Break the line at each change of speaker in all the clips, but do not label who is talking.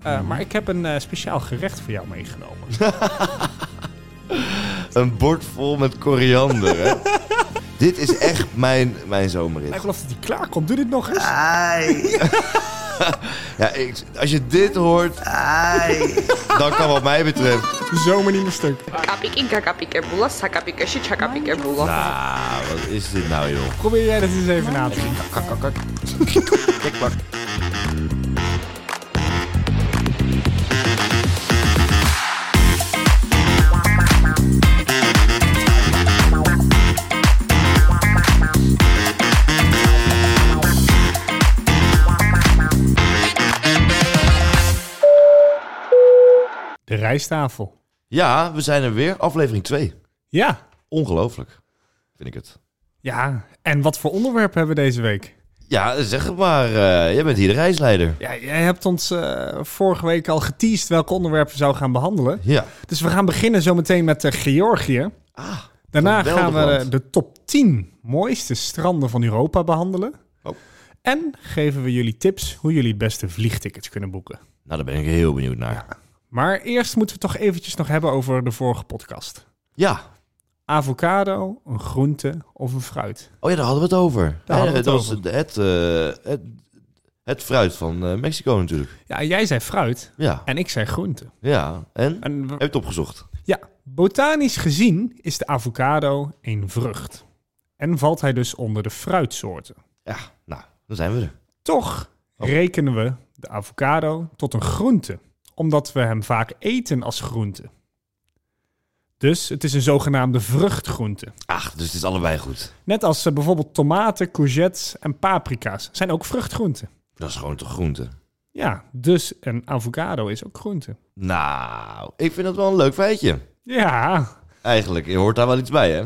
Eh, Maar ik heb een eh, speciaal gerecht voor jou meegenomen.
Een bord vol met koriander, hè? Dit is echt mijn, mijn zomerrit.
ik geloof dat die klaar komt. Doe dit nog eens.
Ja, ik, als je dit hoort, dan kan wat mij betreft...
De zomer niet meer stuk.
Kapik inka kapik ebula, sa kapik eshi cha kapik ebula.
Ah, wat is dit nou, joh?
Probeer jij dat eens even na te doen.
Kak, kak, kak. Kik, bak.
De rijsttafel.
Ja, we zijn er weer. Aflevering 2.
Ja.
Ongelooflijk, vind ik het.
Ja. En wat voor onderwerp hebben we deze week?
Ja, zeg het maar. eh, jij bent hier de reisleider.
Ja, jij hebt ons eh, vorige week al geteased welke onderwerpen we zouden gaan behandelen.
Ja.
Dus we gaan beginnen zometeen met eh, Georgië.
Ah,
Daarna
Geweldig
gaan we eh,
land.
de top 10 mooiste stranden van Europa behandelen.
Oh.
En geven we jullie tips hoe jullie het beste vliegtickets kunnen boeken.
nou daar ben ik heel benieuwd naar.
Maar eerst moeten we het toch eventjes nog hebben over de vorige podcast.
Ja.
Avocado, een groente of een fruit?
Oh ja, daar hadden we het over.
Daar
Ja,
hadden we het
dat was
over.
het, eh, het, het fruit van eh, Mexico natuurlijk.
Ja, jij zei fruit
Ja,
en ik zei groente.
ja. En? Heb
En
je
we-
het opgezocht?
ja, botanisch gezien is de avocado een vrucht. En valt hij dus onder de fruitsoorten.
Ja, nou, dan zijn we er.
Toch
Oh.
rekenen we de avocado tot een groente, omdat we hem vaak eten als groente. Dus het is een zogenaamde vruchtgroente.
Ach, dus het is allebei goed.
Net als eh, bijvoorbeeld tomaten, courgettes en paprika's zijn ook vruchtgroenten.
Dat is gewoon toch groente?
Ja, dus een avocado is ook groente.
Nou, ik vind dat wel een leuk feitje.
Ja,
Eigenlijk, je hoort daar wel iets bij, hè?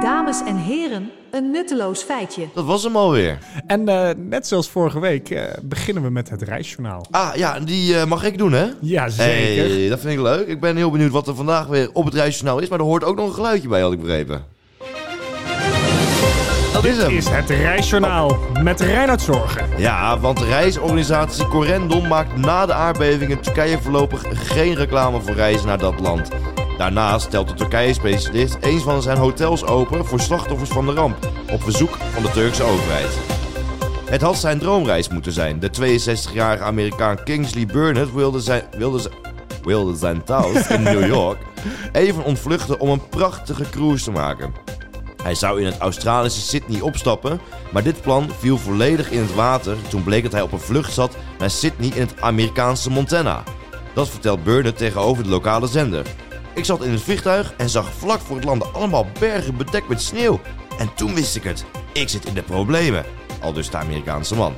Dames en heren, een nutteloos feitje.
Dat was hem alweer.
en eh, net zoals vorige week eh, beginnen we met het reisjournaal.
Ah, ja, die eh, mag ik doen, hè?
Jazeker.
Hey, dat vind ik leuk. Ik ben heel benieuwd wat er vandaag weer op het reisjournaal is. Maar er hoort ook nog een geluidje bij, had ik begrepen. Dat is
Dit
hem.
is het reisjournaal met Reinoud Zorgen.
Ja, want de reisorganisatie Corendon maakt na de aardbeving in Turkije voorlopig geen reclame voor reizen naar dat land. Daarnaast stelt de Turkije-specialist eens van zijn hotels open voor slachtoffers van de ramp, op verzoek van de Turkse overheid. Het had zijn droomreis moeten zijn. De 62-jarige Amerikaan Kingsley Burnett wilde zijn, wilde zijn, wilde zijn thuis in New York even ontvluchten om een prachtige cruise te maken. Hij zou in het Australische Sydney opstappen, maar dit plan viel volledig in het water toen bleek dat hij op een vlucht zat naar Sydney in het Amerikaanse Montana. Dat vertelt Burnett tegenover de lokale zender. Ik zat in het vliegtuig en zag vlak voor het landen allemaal bergen bedekt met sneeuw. En toen wist ik het. Ik zit in de problemen. Al dus de Amerikaanse man.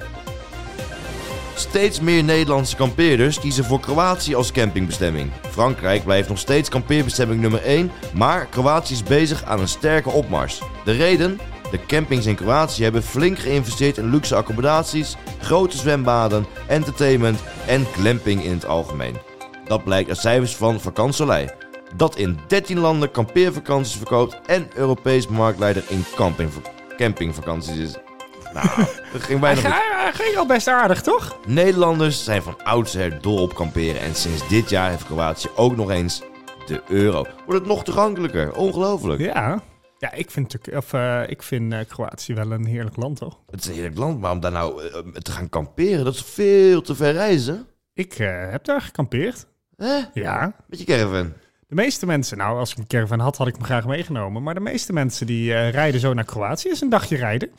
Steeds meer Nederlandse kampeerders kiezen voor Kroatië als campingbestemming. Frankrijk blijft nog steeds kampeerbestemming nummer 1, maar Kroatië is bezig aan een sterke opmars. De reden? De campings in Kroatië hebben flink geïnvesteerd in luxe accommodaties, grote zwembaden, entertainment en glamping in het algemeen. Dat blijkt uit cijfers van Vakantselij, dat in 13 landen kampeervakanties verkoopt en Europees marktleider in camping, campingvakanties is. Nou, dat ging
Hij
bijna goed.
ga- hij ging al best aardig, toch?
Nederlanders zijn van oudsher dol op kamperen en sinds dit jaar heeft Kroatië ook nog eens de euro. Wordt het nog toegankelijker, ongelooflijk.
Ja. Ja, ik vind, Turk- of, eh, ik vind eh, Kroatië wel een heerlijk land, toch?
Het is een heerlijk land, maar om daar nou eh, te gaan kamperen, dat is veel te ver reizen.
Ik eh, heb daar gekampeerd.
Hè?
Ja.
Met je caravan.
De meeste mensen, nou, als ik een caravan had, had ik me graag meegenomen. Maar de meeste mensen die eh, rijden zo naar Kroatië, is een dagje rijden.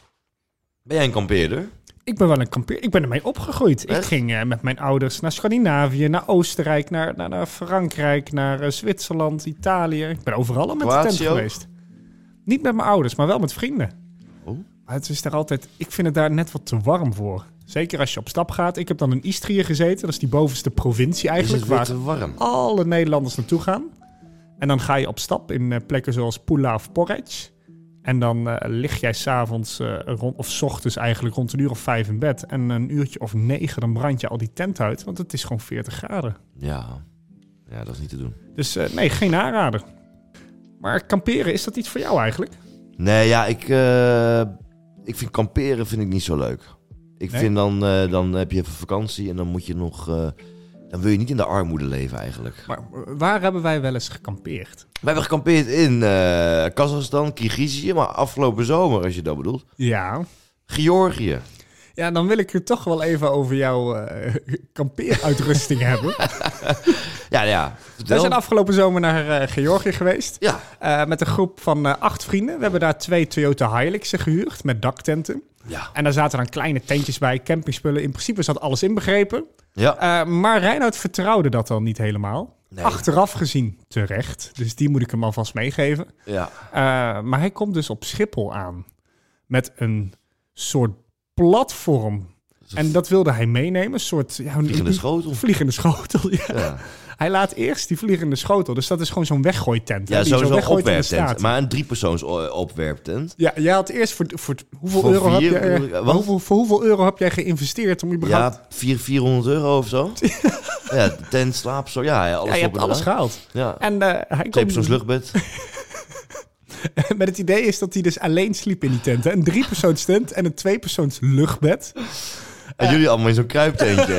Ben jij een kampeerder?
Ik ben wel een kampeer. Ik ben ermee opgegroeid. Ik
Echt?
ging eh, met mijn ouders naar Scandinavië, naar Oostenrijk, naar, naar, naar Frankrijk, naar eh, Zwitserland, Italië. Ik ben overal al met de
Kroatië
tent
ook?
geweest. Niet met mijn ouders, maar wel met vrienden.
Oh.
Maar het is daar altijd... Ik vind het daar net wat te warm voor. Zeker als je op stap gaat. Ik heb dan in Istrië gezeten. Dat is die bovenste provincie
Is
eigenlijk.
het weer
Waar
te warm?
alle Nederlanders naartoe gaan. En dan ga je op stap in eh, plekken zoals Pula of Porridge. En dan eh, lig jij s'avonds eh, rond, of 's ochtends eigenlijk rond een uur of vijf in bed. En een uurtje of negen, dan brand je al die tent uit. Want het is gewoon 40 graden.
Ja. ja, dat is niet te doen.
Dus eh, nee, geen aanrader. Maar kamperen, is dat iets voor jou eigenlijk?
Nee, ja, ik, eh, ik vind kamperen vind ik niet zo leuk. Ik
Nee?
vind dan, eh, dan heb je even vakantie en dan moet je nog... eh, dan wil je niet in de armoede leven eigenlijk.
Maar eh, waar hebben wij wel eens gekampeerd?
We hebben gekampeerd in eh Kazachstan, Kyrgyzije, maar afgelopen zomer, als je dat bedoelt.
Ja.
Georgië.
Ja, dan wil ik het toch wel even over jouw eh, kampeeruitrusting hebben.
Ja, ja. Vertel.
We zijn afgelopen zomer naar eh, Georgië geweest.
Ja,
eh, met een groep van eh, acht vrienden. We hebben daar twee Toyota Hiluxen gehuurd met daktenten.
ja.
En daar zaten dan kleine tentjes bij, campingspullen. In principe zat alles inbegrepen.
Ja,
Eh, maar Reinoud vertrouwde dat dan niet helemaal.
Nee.
Achteraf gezien terecht. Dus die moet ik hem alvast meegeven.
ja.
Eh, maar hij komt dus op Schiphol aan. Met een soort platform. En dat wilde hij meenemen. Een soort... Ja, hoe-
Vliegende schotel.
Vliegende schotel, ja.
Ja,
Hij laat eerst die vliegende schotel. Dus dat is gewoon zo'n weggooitent. hè,
ja
die je zo
sowieso een
weggooit in de
opwerptent.
straat.
Maar een driepersoons o- opwerptent.
Ja, jij had eerst voor, voor hoeveel
Voor
euro
vier,
heb jij,
bedoel ik, wat?
voor hoeveel, voor hoeveel euro heb jij geïnvesteerd om überhaupt...
Ja, vier- 400 euro of zo. ja, tent, slaap, zo. Ja, ja, alles
Ja, je
op
hebt
en
alles
eraan.
gehaald.
Ja.
En eh, hij
Twee
komt
persoons luchtbed.
met het idee is dat hij dus alleen sliep in die tent. Hè? Een driepersoons tent en een tweepersoons luchtbed.
En jullie allemaal in zo'n kruiptentje.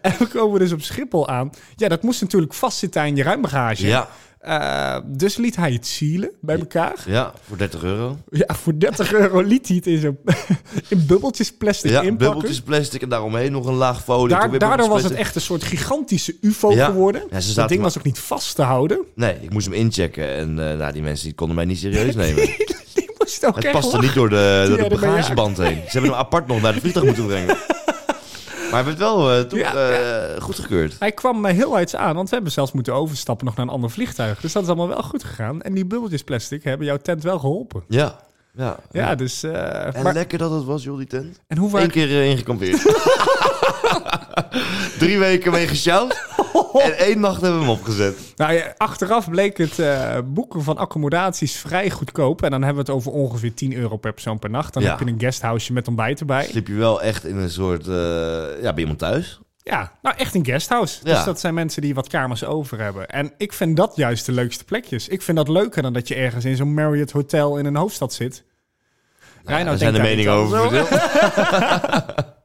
En we komen dus op Schiphol aan. Ja, dat moest natuurlijk vastzitten aan je ruimbagage.
ja,
Eh, dus liet hij het zielen bij elkaar.
ja, voor 30 euro.
Ja, voor 30 euro liet hij het in, zo'n in bubbeltjes plastic
Ja,
inpakken.
bubbeltjes plastic en daaromheen nog een laag folie. Toen
Daar,
weer
daardoor was
bubbeltjes
het
plastic.
echt een soort gigantische UFO
Ja.
geworden.
Ja, ze zaten
dat ding
maar-
was ook niet vast te houden.
Nee, ik moest hem inchecken en eh, nou, die mensen die konden mij niet serieus nemen.
Die moest ook
Het
echt
paste
lachen.
niet door de, door de
Ja, ermee
bagageband heen. Ze hebben hem apart nog naar de vliegtuig moeten brengen. Maar hij werd wel eh, toe-
Ja,
eh, goedgekeurd.
Hij kwam mij heel uit aan, want we hebben zelfs moeten overstappen nog naar een ander vliegtuig. Dus dat is allemaal wel goed gegaan. En die bubbeltjes plastic hebben jouw tent wel geholpen.
Ja. ja.
Ja, dus... eh,
En
maar-
lekker dat het was, joh, die tent.
en hoe
Eén
vaak...
keer eh, ingekampeerd. Drie weken mee gesjouwd. En één nacht hebben we hem opgezet.
Nou, ja, achteraf bleek het eh, boeken van accommodaties vrij goedkoop. En dan hebben we het over ongeveer 10 euro per persoon per nacht. Dan
Ja.
heb je een guesthouse met ontbijt erbij.
Sliep je wel echt in een soort... eh, ja, bij iemand thuis.
Ja, nou echt een guesthouse.
Ja.
Dus dat zijn mensen die wat kamers over hebben. En ik vind dat juist de leukste plekjes. Ik vind dat leuker dan dat je ergens in zo'n Marriott hotel in een hoofdstad zit.
Nou Ja, daar
Reinoud
zijn de
denkt daar niet
meningen over.
anders
verdeeld.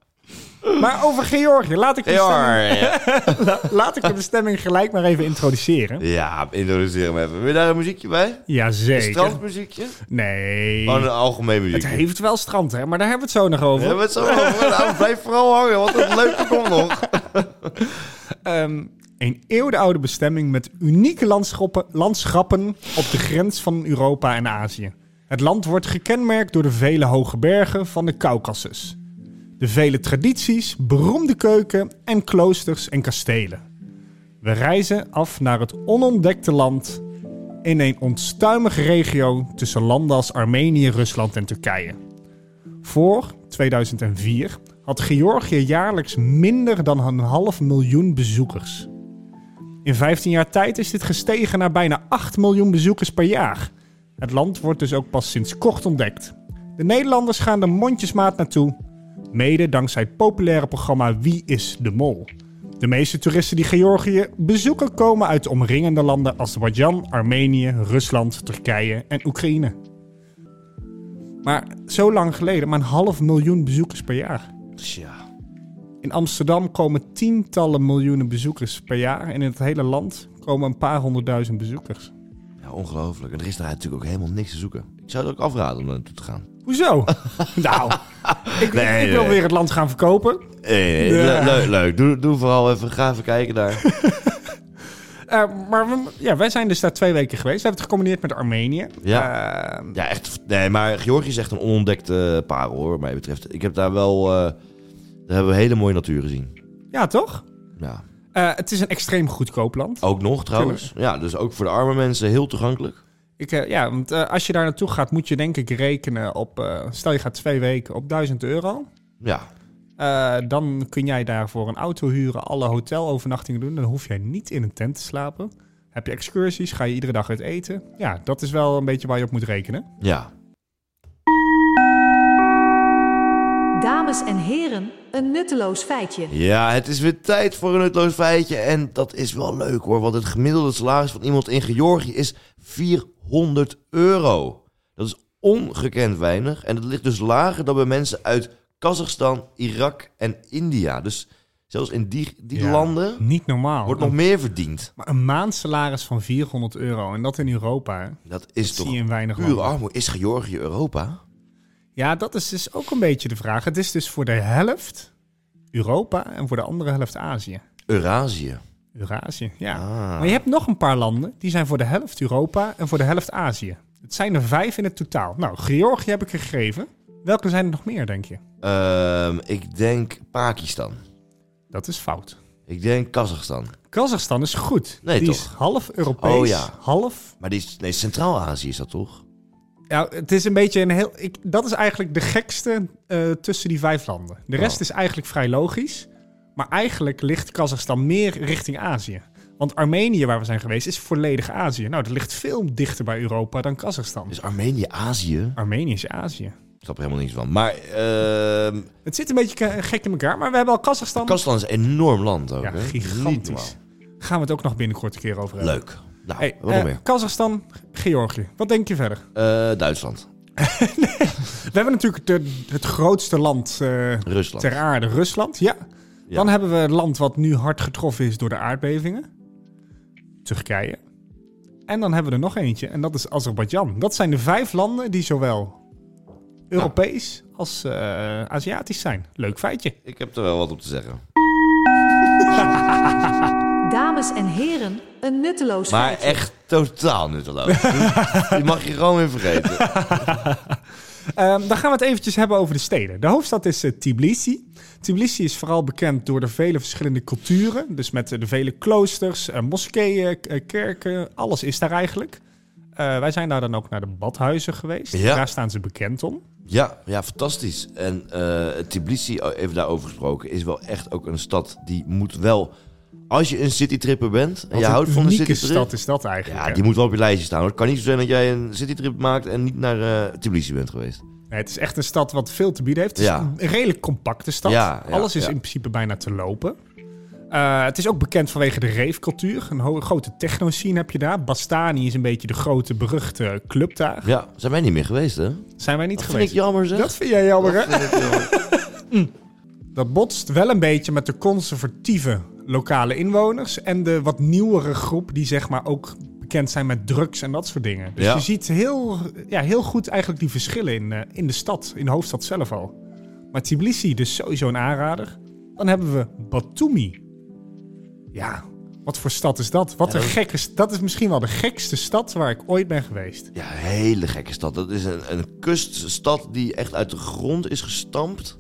Maar over Georgië, laat ik, de stemming,
Ja,
laat ik de bestemming gelijk maar even introduceren.
ja, introduceer hem even. Wil je daar een muziekje bij? Een
Jazeker.
strandmuziekje?
Oh, Nee.
Gewoon een algemeen
Het
muziekje.
heeft wel strand, hè? Maar daar hebben we het zo nog over.
Ja, maar het zo over. Nou, blijf vooral hangen, want het leuke komt nog.
Ehm, een eeuwenoude bestemming met unieke landschappen, landschappen op de grens van Europa en Azië. Het land wordt gekenmerkt door de vele hoge bergen van de Caucasus. De vele tradities, beroemde keuken en kloosters en kastelen. We reizen af naar het onontdekte land in een onstuimige regio tussen landen als Armenië, Rusland en Turkije. Voor 2004 had Georgië jaarlijks minder dan een half miljoen bezoekers. In 15 jaar tijd is dit gestegen naar bijna 8 miljoen bezoekers per jaar. Het land wordt dus ook pas sinds kort ontdekt. De Nederlanders gaan er mondjesmaat naartoe, mede dankzij het populaire programma Wie is de Mol. De meeste toeristen die Georgië bezoeken komen uit de omringende landen Azerbeidzjan, Armenië, Rusland, Turkije en Oekraïne. Maar zo lang geleden, maar een half miljoen bezoekers per jaar.
Tja.
In Amsterdam komen tientallen miljoenen bezoekers per jaar. En in het hele land komen een paar honderdduizend bezoekers.
Ja, ongelooflijk. En er is daar natuurlijk ook helemaal niks te zoeken. Ik zou het ook afraden om daar naartoe te gaan.
Hoezo? nou, ik,
Nee,
ik, ik wil
nee.
weer het land gaan verkopen.
Eh,
Ja.
le- leuk, leuk. Doe, doe vooral even, ga even kijken daar.
Eh, maar we- ja, wij zijn dus daar twee weken geweest. We hebben het gecombineerd met Armenië. Eh, Ja.
Ja, echt. Nee, maar Georgië is echt een onontdekte parel, hoor, wat mij betreft. Ik heb daar wel... eh, daar hebben we hele mooie natuur gezien.
ja, toch?
Ja.
Eh, het is een extreem goedkoop land.
Ook nog, trouwens. Ja, dus ook voor de arme mensen heel toegankelijk.
Ik, eh, ja, want eh, als je daar naartoe gaat, moet je denk ik rekenen op... eh, stel je gaat twee weken op 1000 euro.
Ja.
Eh, dan kun jij daarvoor een auto huren, alle hotelovernachtingen doen. Dan hoef jij niet in een tent te slapen. Heb je excursies, ga je iedere dag uit eten. Ja, dat is wel een beetje waar je op moet rekenen.
Ja.
Dames en heren, een nutteloos feitje.
Ja, het is weer tijd voor een nutloos feitje. En dat is wel leuk hoor, want het gemiddelde salaris van iemand in Georgië is 400 euro. Dat is ongekend weinig. En dat ligt dus lager dan bij mensen uit Kazachstan, Irak en India. Dus zelfs in die, die
Ja.
landen
Niet normaal.
wordt nog meer verdiend.
Maar een maandsalaris van 400 euro en dat in Europa, hè?
Dat is
zie
toch
je in weinig
pure
landen.
armoede. Is Georgië Europa?
Ja, dat is dus ook een beetje de vraag. Het is dus voor de helft Europa en voor de andere helft Azië.
Eurazië.
Eurazië, ja.
Ah.
Maar je hebt nog een paar landen, die zijn voor de helft Europa en voor de helft Azië. Het zijn er vijf in het totaal. Nou, Georgië heb ik gegeven. Welke zijn er nog meer, denk je?
Ehm, ik denk Pakistan.
Dat is fout.
Ik denk Kazachstan.
Kazachstan is goed.
Nee,
die
toch?
is half Europees,
Oh, ja.
half...
Maar die is, nee, Centraal-Azië is dat toch?
Ja, het is een beetje een heel... Ik, dat is eigenlijk de gekste eh, tussen die vijf landen. De rest
Oh.
is eigenlijk vrij logisch. Maar eigenlijk ligt Kazachstan meer richting Azië. Want Armenië, waar we zijn geweest, is volledig Azië. Nou, dat ligt veel dichter bij Europa dan Kazachstan.
Is Dus Armenië Azië?
Armenië is Azië.
Ik snap er helemaal niks van. Maar ehm
Het zit een beetje ke- gek in elkaar, maar we hebben al Kazachstan.
Kazachstan is een enorm land ook.
ja,
hè? Niet normaal.
gigantisch. Gaan we het ook nog binnenkort een keer over hebben.
Leuk. Nou,
Hey,
wat
eh,
nog meer?
Kazachstan, Georgië. Wat denk je verder?
Eh, Duitsland.
We hebben natuurlijk de, het grootste land eh,
Rusland.
ter aarde, Rusland. Ja.
Ja.
Dan hebben we het land wat nu hard getroffen is door de aardbevingen. Turkije. En dan hebben we er nog eentje, en dat is Azerbeidzjan. Dat zijn de vijf landen die zowel Europees als eh, Aziatisch zijn. Leuk feitje.
Ik heb er wel wat op te zeggen.
Dames en heren, een nutteloos
Maar
feitje.
echt totaal nutteloos. Die mag je gewoon weer vergeten.
Ehm, dan gaan we het eventjes hebben over de steden. De hoofdstad is eh, Tbilisi. Tbilisi is vooral bekend door de vele verschillende culturen. Dus met eh, de vele kloosters, eh, moskeeën, k- eh, kerken, alles is daar eigenlijk. Eh, wij zijn daar dan ook naar de badhuizen geweest.
Ja.
Daar staan ze bekend om.
Ja, ja fantastisch. En eh, Tbilisi, oh, even daarover gesproken, is wel echt ook een stad die moet wel... Als je een citytripper bent en
Wat
je
een
houdt van een
unieke
citytrip...
stad is dat eigenlijk.
Ja,
hè?
die moet wel op je lijstje staan. hoor. Het kan niet zo zijn dat jij een citytrip maakt en niet naar eh, Tbilisi bent geweest.
Nee, het is echt een stad wat veel te bieden heeft. Het
Ja.
is een redelijk compacte stad.
Ja, ja,
Alles is
ja.
in principe bijna te lopen. Eh, het is ook bekend vanwege de ravecultuur. Een ho- grote techno-scene heb je daar. Bastani is een beetje de grote, beruchte club daar.
Ja, zijn wij niet meer geweest, hè? Dat
Zijn wij niet
vind ik
geweest.
jammer, zeg.
dat vind jij jammer, hè?
vind ik jammer.
Dat botst wel een beetje met de conservatieve lokale inwoners en de wat nieuwere groep die zeg maar ook bekend zijn met drugs en dat soort dingen. Dus
Ja.
je ziet heel, ja, heel goed eigenlijk die verschillen in, eh, in de stad, in de hoofdstad zelf al. Maar Tbilisi dus sowieso een aanrader. Dan hebben we Batumi. Ja, wat voor stad is dat? Wat een gekke... st- Dat is misschien wel de gekste stad waar ik ooit ben geweest.
Ja, een hele gekke stad. Dat is een, een kuststad die echt uit de grond is gestampt.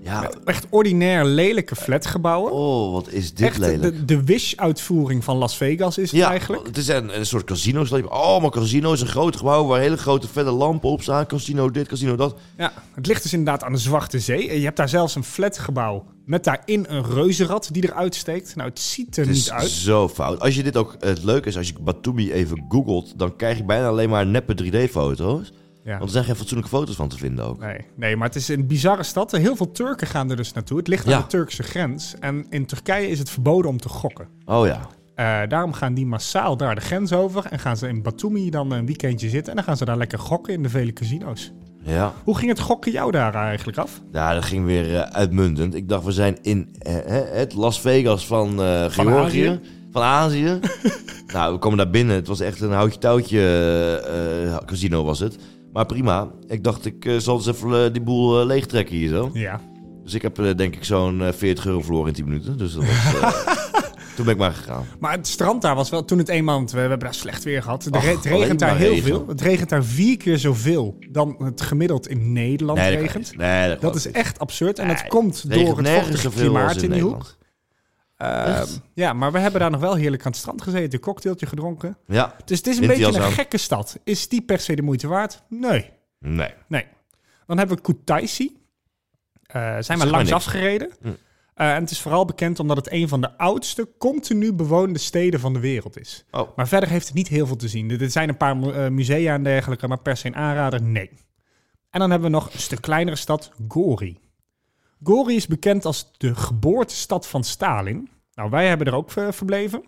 Ja,
Met echt ordinair lelijke flatgebouwen.
oh, wat is dit
Echt
lelijk.
de, de wish-uitvoering van Las Vegas is het
ja,
eigenlijk.
het is een, een soort casino. Je hebt allemaal casino's, een groot gebouw waar hele grote felle lampen op staan. Casino dit, casino dat.
Ja, het ligt dus inderdaad aan de Zwarte Zee. En je hebt daar zelfs een flatgebouw met daarin een reuzenrad die eruit steekt. Nou, het ziet er
Het is
niet uit.
zo fout. Als je dit ook, het leuke is, als je Batumi even googelt, dan krijg je bijna alleen maar neppe 3D-foto's.
Ja.
Want er zijn geen fatsoenlijke foto's van te vinden ook.
Nee, nee, maar het is een bizarre stad. Heel veel Turken gaan er dus naartoe. Het ligt
Ja.
aan de Turkse grens. En in Turkije is het verboden om te gokken.
Oh ja.
Eh, daarom gaan die massaal daar de grens over. En gaan ze in Batumi dan een weekendje zitten. En dan gaan ze daar lekker gokken in de vele casino's.
Ja.
Hoe ging het gokken jou daar eigenlijk af?
Ja, dat ging weer eh, uitmuntend. Ik dacht, we zijn in eh, hè, het Las Vegas van eh, Georgië.
Azië.
Van Azië. nou, we komen daar binnen. Het was echt een houtje-touwtje eh, eh, casino was het. Maar prima. Ik dacht, ik eh, zal eens even eh, die boel leeg leegtrekken hier zo.
Ja,
Dus ik heb eh, denk ik zo'n eh, 40 euro verloren in 10 minuten. Dus dat was... eh, Toen ben ik maar gegaan.
Maar het strand daar was wel toen het eenmaal, want we, we hebben daar slecht weer gehad. De
Ach,
re- het
alleen
regent daar
maar
heel
regen.
veel. Het regent daar vier keer zoveel dan het gemiddeld in Nederland
Nee, dat, kan
regent.
niet. nee, dat,
Dat
is
is echt absurd en dat
Nee,
komt door het vochtige klimaat in, die hoek. Eh,
Echt?
ja, maar we hebben daar nog wel heerlijk aan het strand gezeten, een cocktailtje gedronken.
Ja,
Dus het is een
Windjas
beetje een
aan.
gekke stad. Is die per se de moeite waard? Nee.
nee.
Nee. Dan hebben we Kutaisi. Eh zijn we
maar
langs
niks. Hm.
afgereden. Eh, en het is vooral bekend omdat het een van de oudste, continu bewoonde steden van de wereld is.
Oh.
Maar verder heeft het niet heel veel te zien. Er er zijn een paar mu- eh, musea en dergelijke, maar per se een aanrader, nee. En dan hebben we nog een stuk kleinere stad, Gori. Gori is bekend als de geboortestad van Stalin. Nou, wij hebben er ook eh, verbleven.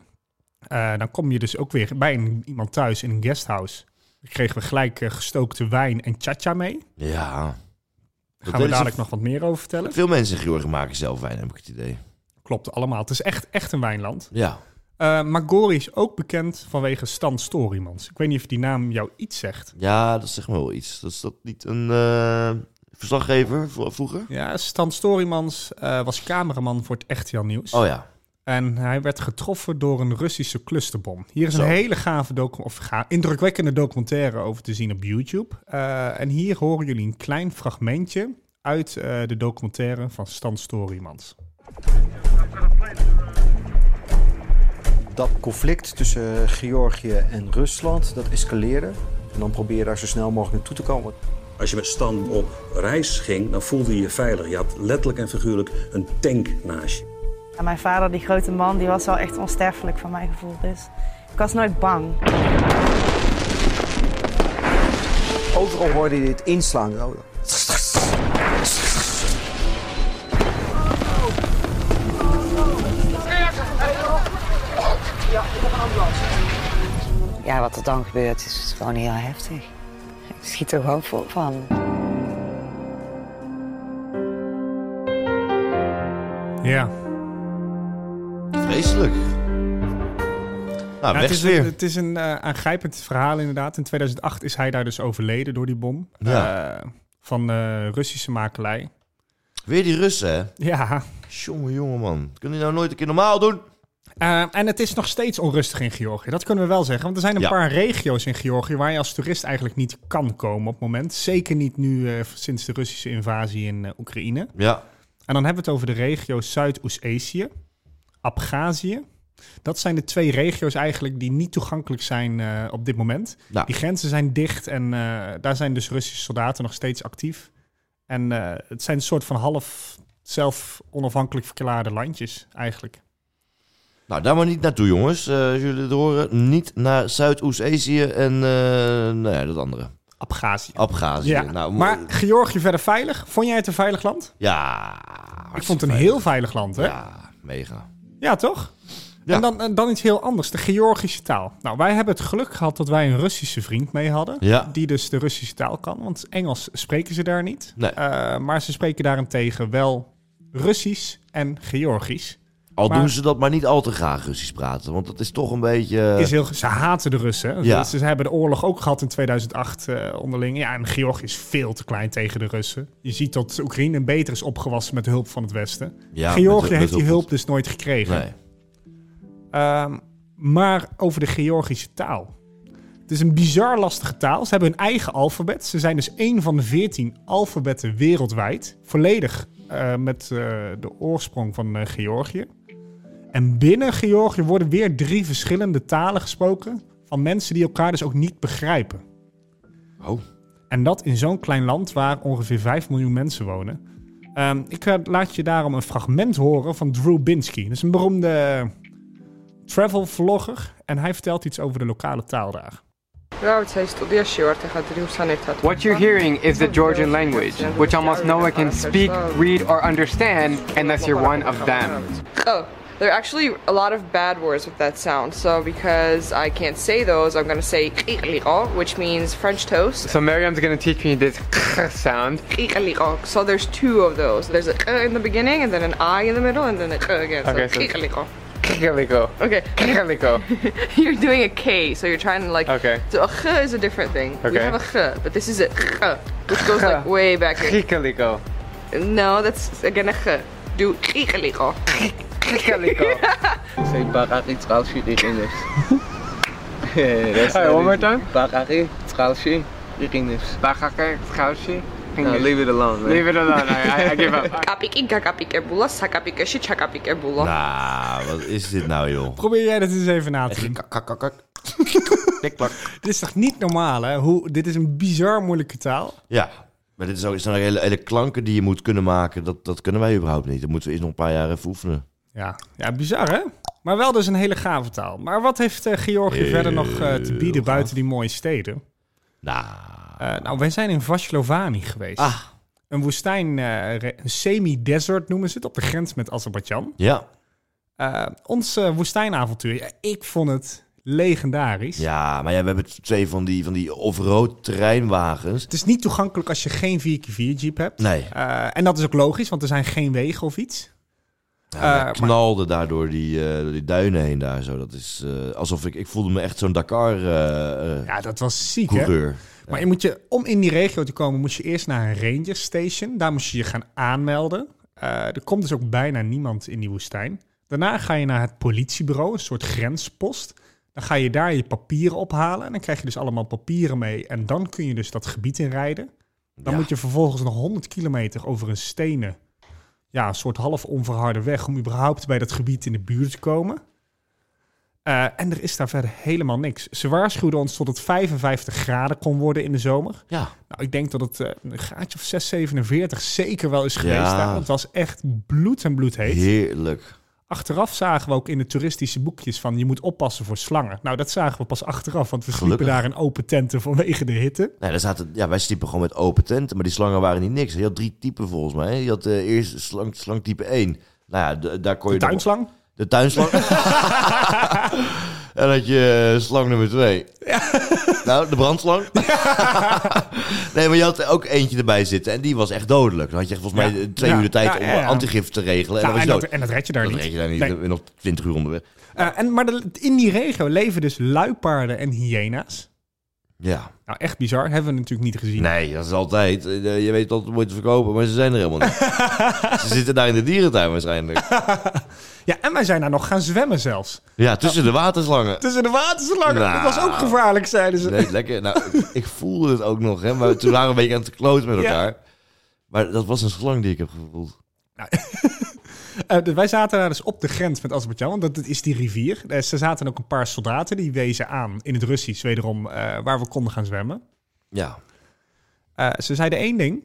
Eh, dan kom je dus ook weer bij een- iemand thuis in een guesthouse. Dan kregen we gelijk eh, gestookte wijn en tja mee.
Ja.
Daar gaan
deden
we
ze-
dadelijk nog wat meer over vertellen.
Veel mensen in Georgië maken zelf wijn, heb ik het idee.
Klopt allemaal. Het is echt, echt een wijnland.
Ja.
Eh maar Gori is ook bekend vanwege Stan Storymans. Ik weet niet of die naam jou iets zegt.
Ja, dat zegt me wel iets. Dat is dat niet een eh, verslaggever v- vroeger?
Ja, Stan Storymans eh, was cameraman voor het RTL Nieuws.
Oh ja.
En hij werd getroffen door een Russische clusterbom. Hier is
Zo.
een hele gave docu- of ga- indrukwekkende documentaire over te zien op YouTube. Eh, en hier horen jullie een klein fragmentje uit eh, de documentaire van Stan Storymans.
dat conflict tussen Georgië en Rusland, dat escaleerde. En dan proberen daar zo snel mogelijk naartoe te komen.
Als je met Stan op reis ging, dan voelde je je veilig. Je had letterlijk en figuurlijk een tank naast je.
En mijn vader, die grote man, die was wel echt onsterfelijk van mijn gevoel. Dus ik was nooit bang.
Overal hoorde je dit inslaan. Oh, Zo.
Ja, wat er dan gebeurt is gewoon heel heftig. Ik schiet er gewoon vol van.
Ah,
Ja, Nou,
Vreselijk.
Ja,
Nou, weg
het
is
is,
weer.
een, het is een eh, aangrijpend verhaal inderdaad. In 2008 is hij daar dus overleden door die bom
Ja.
eh, van eh, Russische makelij.
Weer die Russen, hè?
Ja,
Jongen, jongen, man. Kunnen die nou nooit een keer normaal doen?
Eh, en het is nog steeds onrustig in Georgië. Dat kunnen we wel zeggen. Want er zijn een
Ja.
paar regio's in Georgië waar je als toerist eigenlijk niet kan komen op het moment. Zeker niet nu eh, sinds de Russische invasie in eh, Oekraïne.
Ja.
En dan hebben we het over de regio's Zuidoost-Azië, Abhazie. Dat zijn de twee regio's eigenlijk die niet toegankelijk zijn eh, op dit moment.
Nou,
Die grenzen zijn dicht en eh, daar zijn dus Russische soldaten nog steeds actief. En eh, het zijn een soort van half zelf onafhankelijk verklaarde landjes eigenlijk.
nou, daar maar niet naartoe, jongens. Eh, als jullie het horen, niet naar Zuidoost-Azië en eh, nou ja, dat andere.
Abhazie.
Abhazie.
Ja,
Nou,
maar Georgië verder veilig? Vond jij het een veilig land?
Ja.
Ik vond het een heel veilig land, hè? Ja,
Ah, Ja, mega.
toch?
Ja.
En dan, en dan iets heel anders, de Georgische taal. Nou, wij hebben het geluk gehad dat wij een Russische vriend mee hadden.
Ja.
Die dus de Russische taal kan, want Engels spreken ze daar niet.
Nee.
Eh, maar ze spreken daarentegen wel Russisch en Georgisch.
Al
Maar-
doen ze dat maar niet al te graag Russisch praten, want dat is toch een beetje... eh,
Is heel, ze haten de Russen. hè?
Ja.
Ze, ze hebben de oorlog ook gehad in 2008 eh, onderling. Ja, en Georgië is veel te klein tegen de Russen. Je ziet dat Oekraïne beter is opgewassen met de hulp van het Westen.
Ja, met-
Georgië
met
heeft die
hulp-
hulp dus nooit gekregen.
Nee.
Ehm, maar over de Georgische taal. Het is een bizar lastige taal. Ze hebben hun eigen alfabet. Ze zijn dus één van de veertien alfabetten wereldwijd. Volledig eh, met eh, de oorsprong van eh, Georgië. En binnen Georgië worden weer drie verschillende talen gesproken. Van mensen die elkaar dus ook niet begrijpen.
Oh.
En dat in zo'n klein land waar ongeveer 5 miljoen mensen wonen. Ehm, ik eh, laat je daarom een fragment horen van Drew Binsky. Dat is een beroemde travel vlogger. En hij vertelt iets over de lokale taal daar.
What you're hearing is the Georgian language, which almost no one can speak, read, or understand unless you're one of them.
Oh, there are actually a lot of bad words with that sound. So because I can't say those, I'm gonna say "qirliqo," which means French toast.
So Miriam's gonna teach me this sound.
"Qirliqo." So there's two of those. There's a "q" in the beginning, and then an I in the middle, and then a "q" again. So
Okay, so it's-
"qirliqo."
Kikaligo.
Okay.
Kikaligo.
You're doing a K, so you're trying to like.
Okay.
So a "q" is a different thing. We
Okay.
have a "q," but this is a "q," which goes like way back. here.
Kikaligo.
No, that's again a "q." Do "qirliqo."
Kikaligo.
Say Barari Tralshi in English. That's
Alright, one more time.
Barari Tralshi Irinips.
Bakake, Kaushi.
No, leave it alone, man.
Leave it alone. I, I, I give up.
Kapiki kakapikebula, sakapikeshi chakapikebula.
Nou, wat is dit nou, joh?
Probeer jij dat eens even na te doen.
Kak, kak, kak, kak. Klik, klak.
Dit is toch niet normaal, hè? Hoe, dit is een bizar moeilijke taal.
Ja, maar dit is ook, het zijn ook hele, hele klanken die je moet kunnen maken. Dat, dat kunnen wij überhaupt niet. Dat moeten we eerst nog een paar jaar even oefenen.
Ja, ja bizar, hè? Maar wel dus een hele gave taal. Maar wat heeft eh, Georgië verder nog eh, te bieden buiten die mooie steden?
Nou,
Eh, nou, wij zijn in Vaslovani geweest.
Ah.
Een woestijn, eh, re- een semi-desert noemen ze het, op de grens met Azerbeidzjan.
ja.
Eh, ons eh, woestijnavontuur, ja, ik vond het legendarisch.
Ja, maar ja, we hebben twee van die, van die off-road terreinwagens.
Het is niet toegankelijk als je geen 4x4 Jeep hebt.
Nee.
Eh, en dat is ook logisch, want er zijn geen wegen of iets.
Ja,
Eh,
knalde daardoor die, eh, door die duinen heen daar zo. Dat is eh, alsof ik... Ik voelde me echt zo'n eh, Dakar-coureur.
Ja, dat was ziek, hè? Maar je moet je, om in die regio te komen, moest je eerst naar een ranger station. Daar moest je je gaan aanmelden. Eh, er komt dus ook bijna niemand in die woestijn. Daarna ga je naar het politiebureau, een soort grenspost. Dan ga je daar je papieren ophalen. En dan krijg je dus allemaal papieren mee. En dan kun je dus dat gebied inrijden. Dan
Ja.
moet je vervolgens nog 100 kilometer over een stenen... Ja, een soort half onverharde weg om überhaupt bij dat gebied in de buurt te komen. Eh, en er is daar verder helemaal niks. Ze waarschuwden ons tot het 55 graden kon worden in de zomer.
Ja.
Nou, ik denk dat het eh, een graadje of 6, 47 zeker wel is geweest
Ja.
daar. Want het was echt bloed en bloed heet.
Heerlijk.
Achteraf zagen we ook in de toeristische boekjes van je moet oppassen voor slangen. Nou, dat zagen we pas achteraf, want we sliepen
Gelukkig.
daar in open tenten vanwege de hitte.
Nee, Nou, daar zaten, ja, wij sliepen gewoon met open tenten, maar die slangen waren niet niks. Je had drie typen volgens mij. Je had eh, eerst slang, slang type 1. Nou ja, d- daar kon
De
je... nog- Eh,
tuinslang.
De tuinslang. en dan had je eh, slang nummer 2. Nou, de brandslang. nee, maar je had ook eentje erbij zitten en die was echt dodelijk. Dan had je volgens mij eh,
Ja.
twee
Ja.
uur de tijd
Ja,
om
ja, ja.
antigif te
Nou,
regelen. En dan was
en,
je
dat,
dood.
en dat red je daar
dat
niet.
reed je daar niet.
Nee.
Dan ben je nog 20 uur onderweg.
Eh, en, maar de- in die regio leven dus luipaarden en hyena's.
Ja.
Nou, echt bizar. Hebben we natuurlijk niet gezien.
Nee, dat is altijd. eh, Je weet dat het moet verkopen, maar ze zijn er helemaal niet. ze zitten daar in de dierentuin waarschijnlijk.
Ja, en wij zijn daar nog gaan zwemmen zelfs.
Ja, tussen de waterslangen.
Tussen de waterslangen.
Nou.
Dat was ook gevaarlijk, zeiden ze.
Nee, lekker. Nou, ik voelde het ook nog, hè. Maar toen waren we een beetje aan het kloot met
Ja.
elkaar. Maar dat was een slang die ik heb gevoeld.
Eh, dus wij zaten daar dus op de grens met Azerbeidzjan, want dat dat is die rivier. Eh, ze zaten ook een paar soldaten, die wezen aan in het Russisch, wederom, eh, waar we konden gaan zwemmen.
Ja.
Eh, ze zeiden één ding,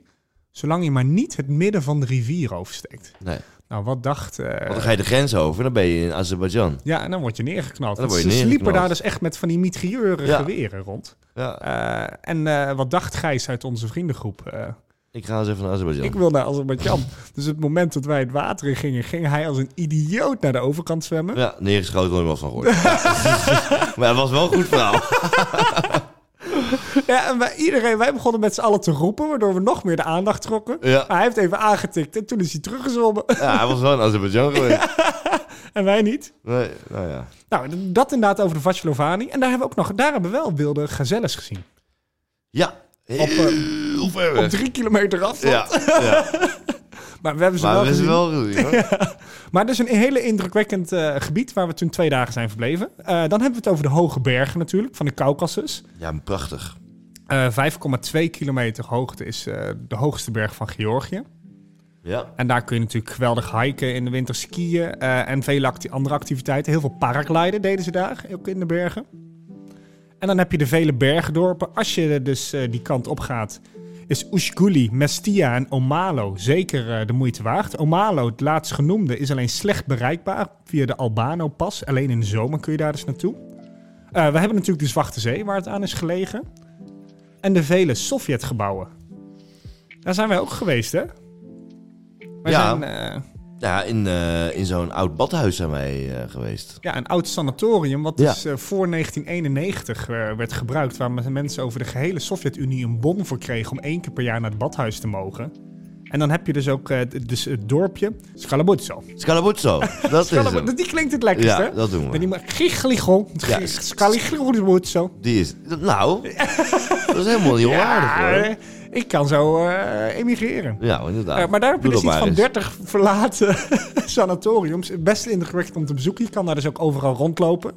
zolang je maar niet het midden van de rivier oversteekt.
Nee.
Nou, wat dacht... eh,
Want dan ga je de grens over en dan ben je in Azerbeidzjan.
ja, en dan word je neergeknald.
Dan word
ze
je
sliepen
neergeknald.
daar dus echt met van die mitrieuren
Ja.
geweren rond.
Ja.
Eh, en eh, wat dacht Gijs uit onze vriendengroep? Eh,
Ik ga eens even naar Azerbeidzjan.
Ik wil naar Azerbeidzjan. dus het moment dat wij het water in gingen, ging hij als een idioot naar de overkant zwemmen.
Ja, neergeschoten had ik wel van gehoord. maar het was wel een goed verhaal.
Ja, en wij, iedereen, wij begonnen met z'n allen te roepen, waardoor we nog meer de aandacht trokken.
Ja.
Maar hij heeft even aangetikt en toen is hij teruggezwommen.
Ja, hij was wel in Azerbeidzjan geweest.
en wij niet.
Nee, nou ja.
Nou, d- dat inderdaad over de Vatsjelovani. En daar hebben we ook nog, daar hebben we wel wilde gazelles gezien.
Ja,
Op, eh,
heel ver
op
weg.
drie kilometer afstand.
Ja, ja.
Maar we hebben ze
maar
wel
we
gezien.
zijn wel gezien, hoor.
Maar het is een hele indrukwekkend eh, gebied waar we toen twee dagen zijn verbleven. Eh, dan hebben we het over de hoge bergen natuurlijk, van de Caucasus.
Ja, maar prachtig.
Eh, 5,2 kilometer hoogte is eh, de hoogste berg van Georgië.
Ja.
En daar kun je natuurlijk geweldig hiken in de winter, skiën eh, en vele acti- andere activiteiten. Heel veel paragliden deden ze daar, ook in de bergen. En dan heb je de vele bergdorpen. Als je dus eh, die kant op gaat, is Ushguli, Mestia en Omalo zeker eh, de moeite waard. Omalo, het laatst genoemde, is alleen slecht bereikbaar via de Albano-pas. Alleen in de zomer kun je daar dus naartoe. Eh, we hebben natuurlijk de Zwarte Zee, waar het aan is gelegen. En de vele Sovjetgebouwen. Daar zijn wij ook geweest, hè? Wij
Ja.
zijn eh,
Ja, in, eh, in zo'n oud badhuis zijn wij eh, geweest.
ja, een oud sanatorium, wat
Ja.
dus eh, voor 1991 eh, werd gebruikt, waar men- mensen over de gehele Sovjet-Unie een bon voor kregen om één keer per jaar naar het badhuis te mogen. En dan heb je dus ook eh, d- dus het dorpje Scalabuzzo.
Scalabuzzo, dat is
Scalab-
hem.
die klinkt het lekkerst,
Ja,
hè?
dat doen
Dan die
we.
maar gicheligon,
Ja.
Scalabuzzo.
Die is... Nou, dat is helemaal niet onaardig, hoor.
eh, ik kan zo eh, emigreren.
Ja, inderdaad.
Eh, maar daar heb je
Doe
dus
dat
iets van
eens.
30 verlaten sanatoriums. Best indrukwekkend om te bezoeken. Je kan daar dus ook overal rondlopen.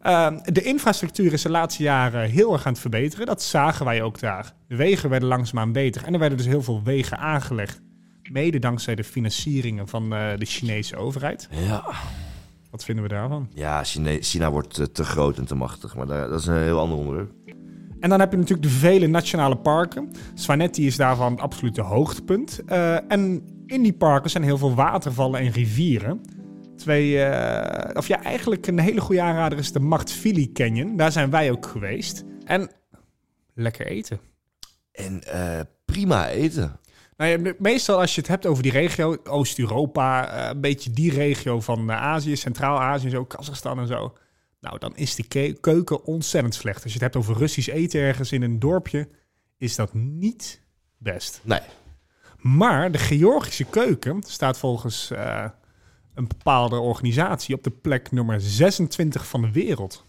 Ehm, de infrastructuur is de laatste jaren heel erg aan het verbeteren. Dat zagen wij ook daar. De wegen werden langzaamaan beter. En er werden dus heel veel wegen aangelegd. Mede dankzij de financieringen van eh, de Chinese overheid.
Ja,
Wat vinden we daarvan?
ja China, China wordt eh, te groot en te machtig. Maar daar, dat is een heel ander onderwerp.
En dan heb je natuurlijk de vele nationale parken. Swanetti is daarvan het absolute hoogtepunt. Eh, en in die parken zijn heel veel watervallen en rivieren. Twee, eh, of ja, eigenlijk een hele goede aanrader is de Machtfili Canyon. Daar zijn wij ook geweest. En lekker eten.
En eh, prima eten.
Nou ja, me- meestal als je het hebt over die regio, Oost-Europa, eh, een beetje die regio van eh, Azië, Centraal-Azië, en zo, Kazachstan en zo. Nou, dan is die ke- keuken ontzettend slecht. Als je het hebt over Russisch eten ergens in een dorpje, is dat niet best.
Nee.
Maar de Georgische keuken staat volgens eh, een bepaalde organisatie op de plek nummer 26 van de wereld.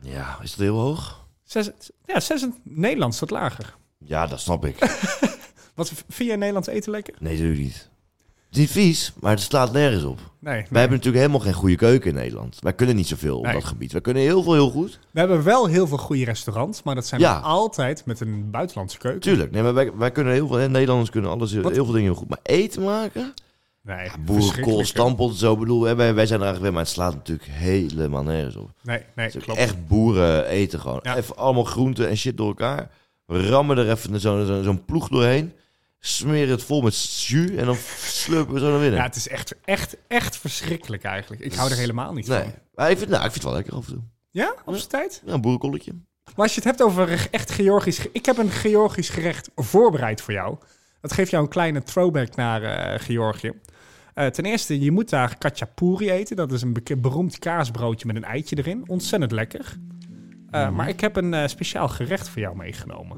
Ja, is dat heel hoog?
Zes, ja, 26 Nederland staat lager.
Ja, dat snap ik.
Wat v- vind jij Nederlands eten lekker?
Nee, natuurlijk niet. Het is niet vies, maar het slaat nergens op.
Nee,
Wij hebben natuurlijk helemaal geen goede keuken in Nederland. Wij kunnen niet zoveel op
Nee.
dat gebied. Wij kunnen heel veel heel goed.
We hebben wel heel veel goede restaurants, maar dat zijn
Ja.
dan altijd met een buitenlandse keuken.
Tuurlijk. Nee, maar wij, wij kunnen heel veel. hè, Nederlanders kunnen alles, heel,
Wat?
heel veel dingen heel goed. Maar eten maken?
Nee,
Boerenkool,
verschrikkelijk.
stampot, zo bedoel. hè, Wij, wij zijn er eigenlijk weer, maar het slaat natuurlijk helemaal nergens op.
Nee, nee,
Het is ook
klopt.
Echt boeren eten gewoon.
Ja.
Even allemaal groenten en shit door elkaar. We rammen er even zo'n zo, zo'n ploeg doorheen. Smeren het vol met jus en dan slurpen we zo naar binnen.
Ja, het is echt, echt, echt verschrikkelijk eigenlijk. Ik hou er helemaal niet
Dus nee.
van.
Maar ik vind, nou, ik vind het wel lekker af en toe.
Ja, op zijn tijd?
Ja, een boerenkolletje.
Maar als je het hebt over echt Georgisch... ge- Ik heb een Georgisch gerecht voorbereid voor jou. Dat geeft jou een kleine throwback naar eh, Georgië. Eh, ten eerste, je moet daar kachapuri eten. Dat is een beke- beroemd kaasbroodje met een eitje erin. Ontzettend lekker.
Mhm.
Eh, Maar ik heb een eh, speciaal gerecht voor jou meegenomen.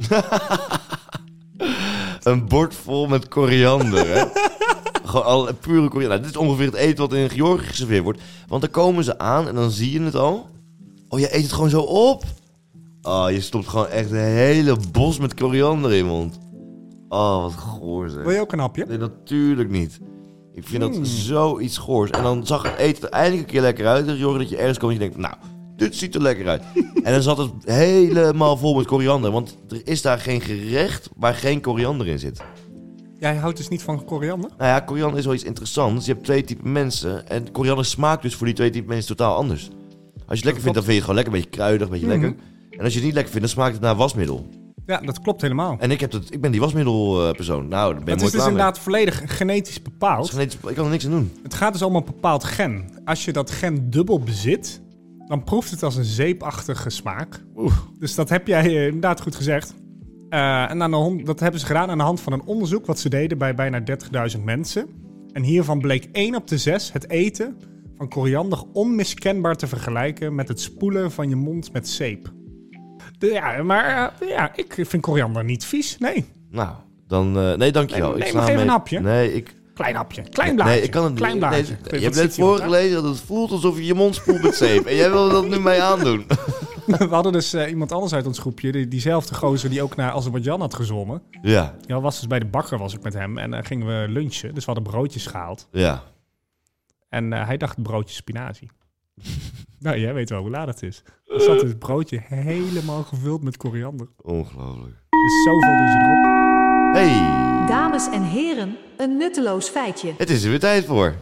Een bord vol met koriander, hè? Gewoon al pure koriander. Nou, dit is ongeveer het eten wat in Georgië geserveerd wordt. Want dan komen ze aan en dan zie je het al. Oh, je eet het gewoon zo op. Oh, je stopt gewoon echt een hele bos met koriander in je mond. Oh, wat goor zeg.
Wil je ook een hapje?
Nee, natuurlijk niet. Ik vind
Hmm.
dat zoiets goors. En dan zag het eten er eindelijk een keer lekker uit. En Jorgen dat je ergens komt en je denkt, nou, dit ziet er lekker uit. en dan zat het helemaal vol met koriander. Want er is daar geen gerecht waar geen koriander in zit.
Jij houdt dus niet van koriander?
Nou ja, koriander is wel iets interessants. Je hebt twee typen mensen. En koriander smaakt dus voor die twee typen mensen totaal anders. Als je het lekker vindt, dan vind je het gewoon lekker. Een beetje kruidig, een beetje
Hmm.
lekker. En als je het niet lekker vindt, dan smaakt het naar wasmiddel.
Ja, dat klopt helemaal.
En ik, heb dat, ik ben die wasmiddelpersoon. Nou, daar ben
Dat
je mooi
is dus
klaar mee.
inderdaad volledig genetisch
Dat
bepaald.
is genetisch- Ik kan er niks aan doen.
Het gaat dus om een bepaald gen. Als je dat gen dubbel bezit, dan proeft het als een zeepachtige smaak. Dus dat heb jij eh, inderdaad goed gezegd. Eh, en aan de hon- dat hebben ze gedaan aan de hand van een onderzoek wat ze deden bij bijna 30.000 mensen. En hiervan bleek 1 op de 6 het eten van koriander onmiskenbaar te vergelijken met het spoelen van je mond met zeep. De- ja, maar eh, ja, ik vind koriander niet vies. Nee,
Nou, dan... eh, nee, dankjewel.
Nee,
Ik
nee,
sla
maar geef
mee.
een hapje.
Nee, ik...
klein hapje, klein blaadje.
Nee, ik kan het niet.
Klein blaadje.
Nee,
Ik weet
je hebt
wat
net
ziet hier, hè?
voorgelezen dat het voelt alsof je je mond spoelt met zeep. en jij wil dat nu mij aandoen.
We hadden dus eh, iemand anders uit ons groepje, die, diezelfde gozer die ook naar Azerbeidzjan had gezongen.
ja,
Ja, was dus bij de bakker was ik met hem en eh, gingen we lunchen. Dus we hadden broodjes gehaald.
ja.
En eh, hij dacht broodje spinazie. nou, jij weet wel hoe laat het is. Er zat het broodje helemaal gevuld met koriander.
Ongelooflijk.
Dus zoveel doen ze erop.
Hey,
Dames en heren, een nutteloos feitje.
het is er weer tijd voor.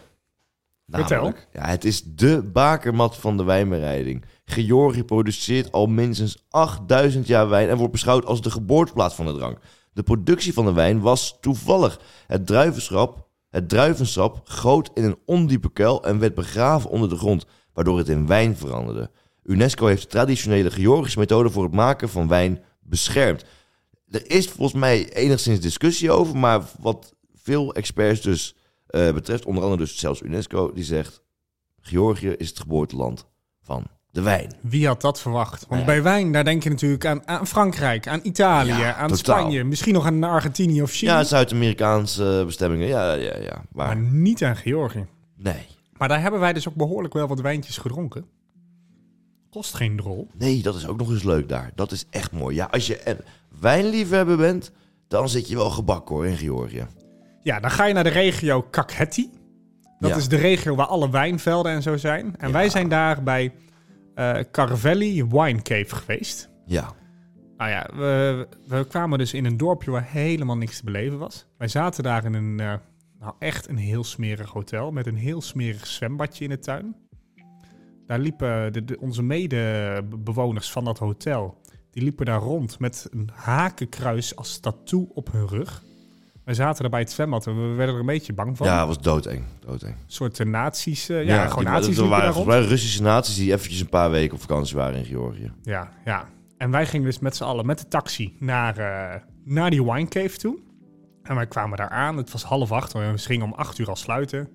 Vertel.
ja, het is de bakermat van de wijnbereiding. Georgië produceert al minstens 8000 jaar wijn en wordt beschouwd als de geboorteplaats van de drank. De productie van de wijn was toevallig. Het druivenschap, het druivensap goot in een ondiepe kuil en werd begraven onder de grond, waardoor het in wijn veranderde. UNESCO heeft de traditionele Georgische methode voor het maken van wijn beschermd. Er is volgens mij enigszins discussie over, maar wat veel experts dus eh, betreft, onder andere dus zelfs UNESCO, die zegt: Georgië is het geboorteland van de wijn.
Wie had dat verwacht? Want
Ja.
bij wijn, daar denk je natuurlijk aan, aan Frankrijk, aan Italië,
Ja,
aan
totaal.
Spanje. Misschien nog aan Argentinië of Chili.
Ja, Zuid-Amerikaanse eh, bestemmingen. Ja, ja, ja.
maar
Waar?
niet aan Georgië.
Nee.
Maar daar hebben wij dus ook behoorlijk wel wat wijntjes gedronken. Kost geen drol.
Nee, dat is ook nog eens leuk daar. Dat is echt mooi. Ja, als je een wijnliefhebber bent, dan zit je wel gebak hoor in Georgië.
Ja, dan ga je naar de regio Kakheti. Dat
Ja.
is de regio waar alle wijnvelden en zo zijn. En wij zijn daar bij eh Carvelli Wine Cave geweest.
Ja.
Nou ja, we, we kwamen dus in een dorpje waar helemaal niks te beleven was. Wij zaten daar in een, eh, nou echt een heel smerig hotel met een heel smerig zwembadje in de tuin. Daar liepen de, de- onze medebewoners van dat hotel, die liepen daar rond met een hakenkruis als tattoo op hun rug. Wij zaten daar bij het zwembad en we werden er een beetje bang van.
Ja, het was doodeng. doodeng.
Een soort eh, nazi's, eh, ja, gewoon
die-
nazi's
Er
liepen daar
waren
rond.
volgens mij Russische naties die eventjes een paar weken op vakantie waren in Georgië.
Ja, ja. En wij gingen dus met z'n allen met de taxi naar, eh, naar die wine cave toe. En wij kwamen daar aan. Het was half acht. We gingen om acht uur al sluiten.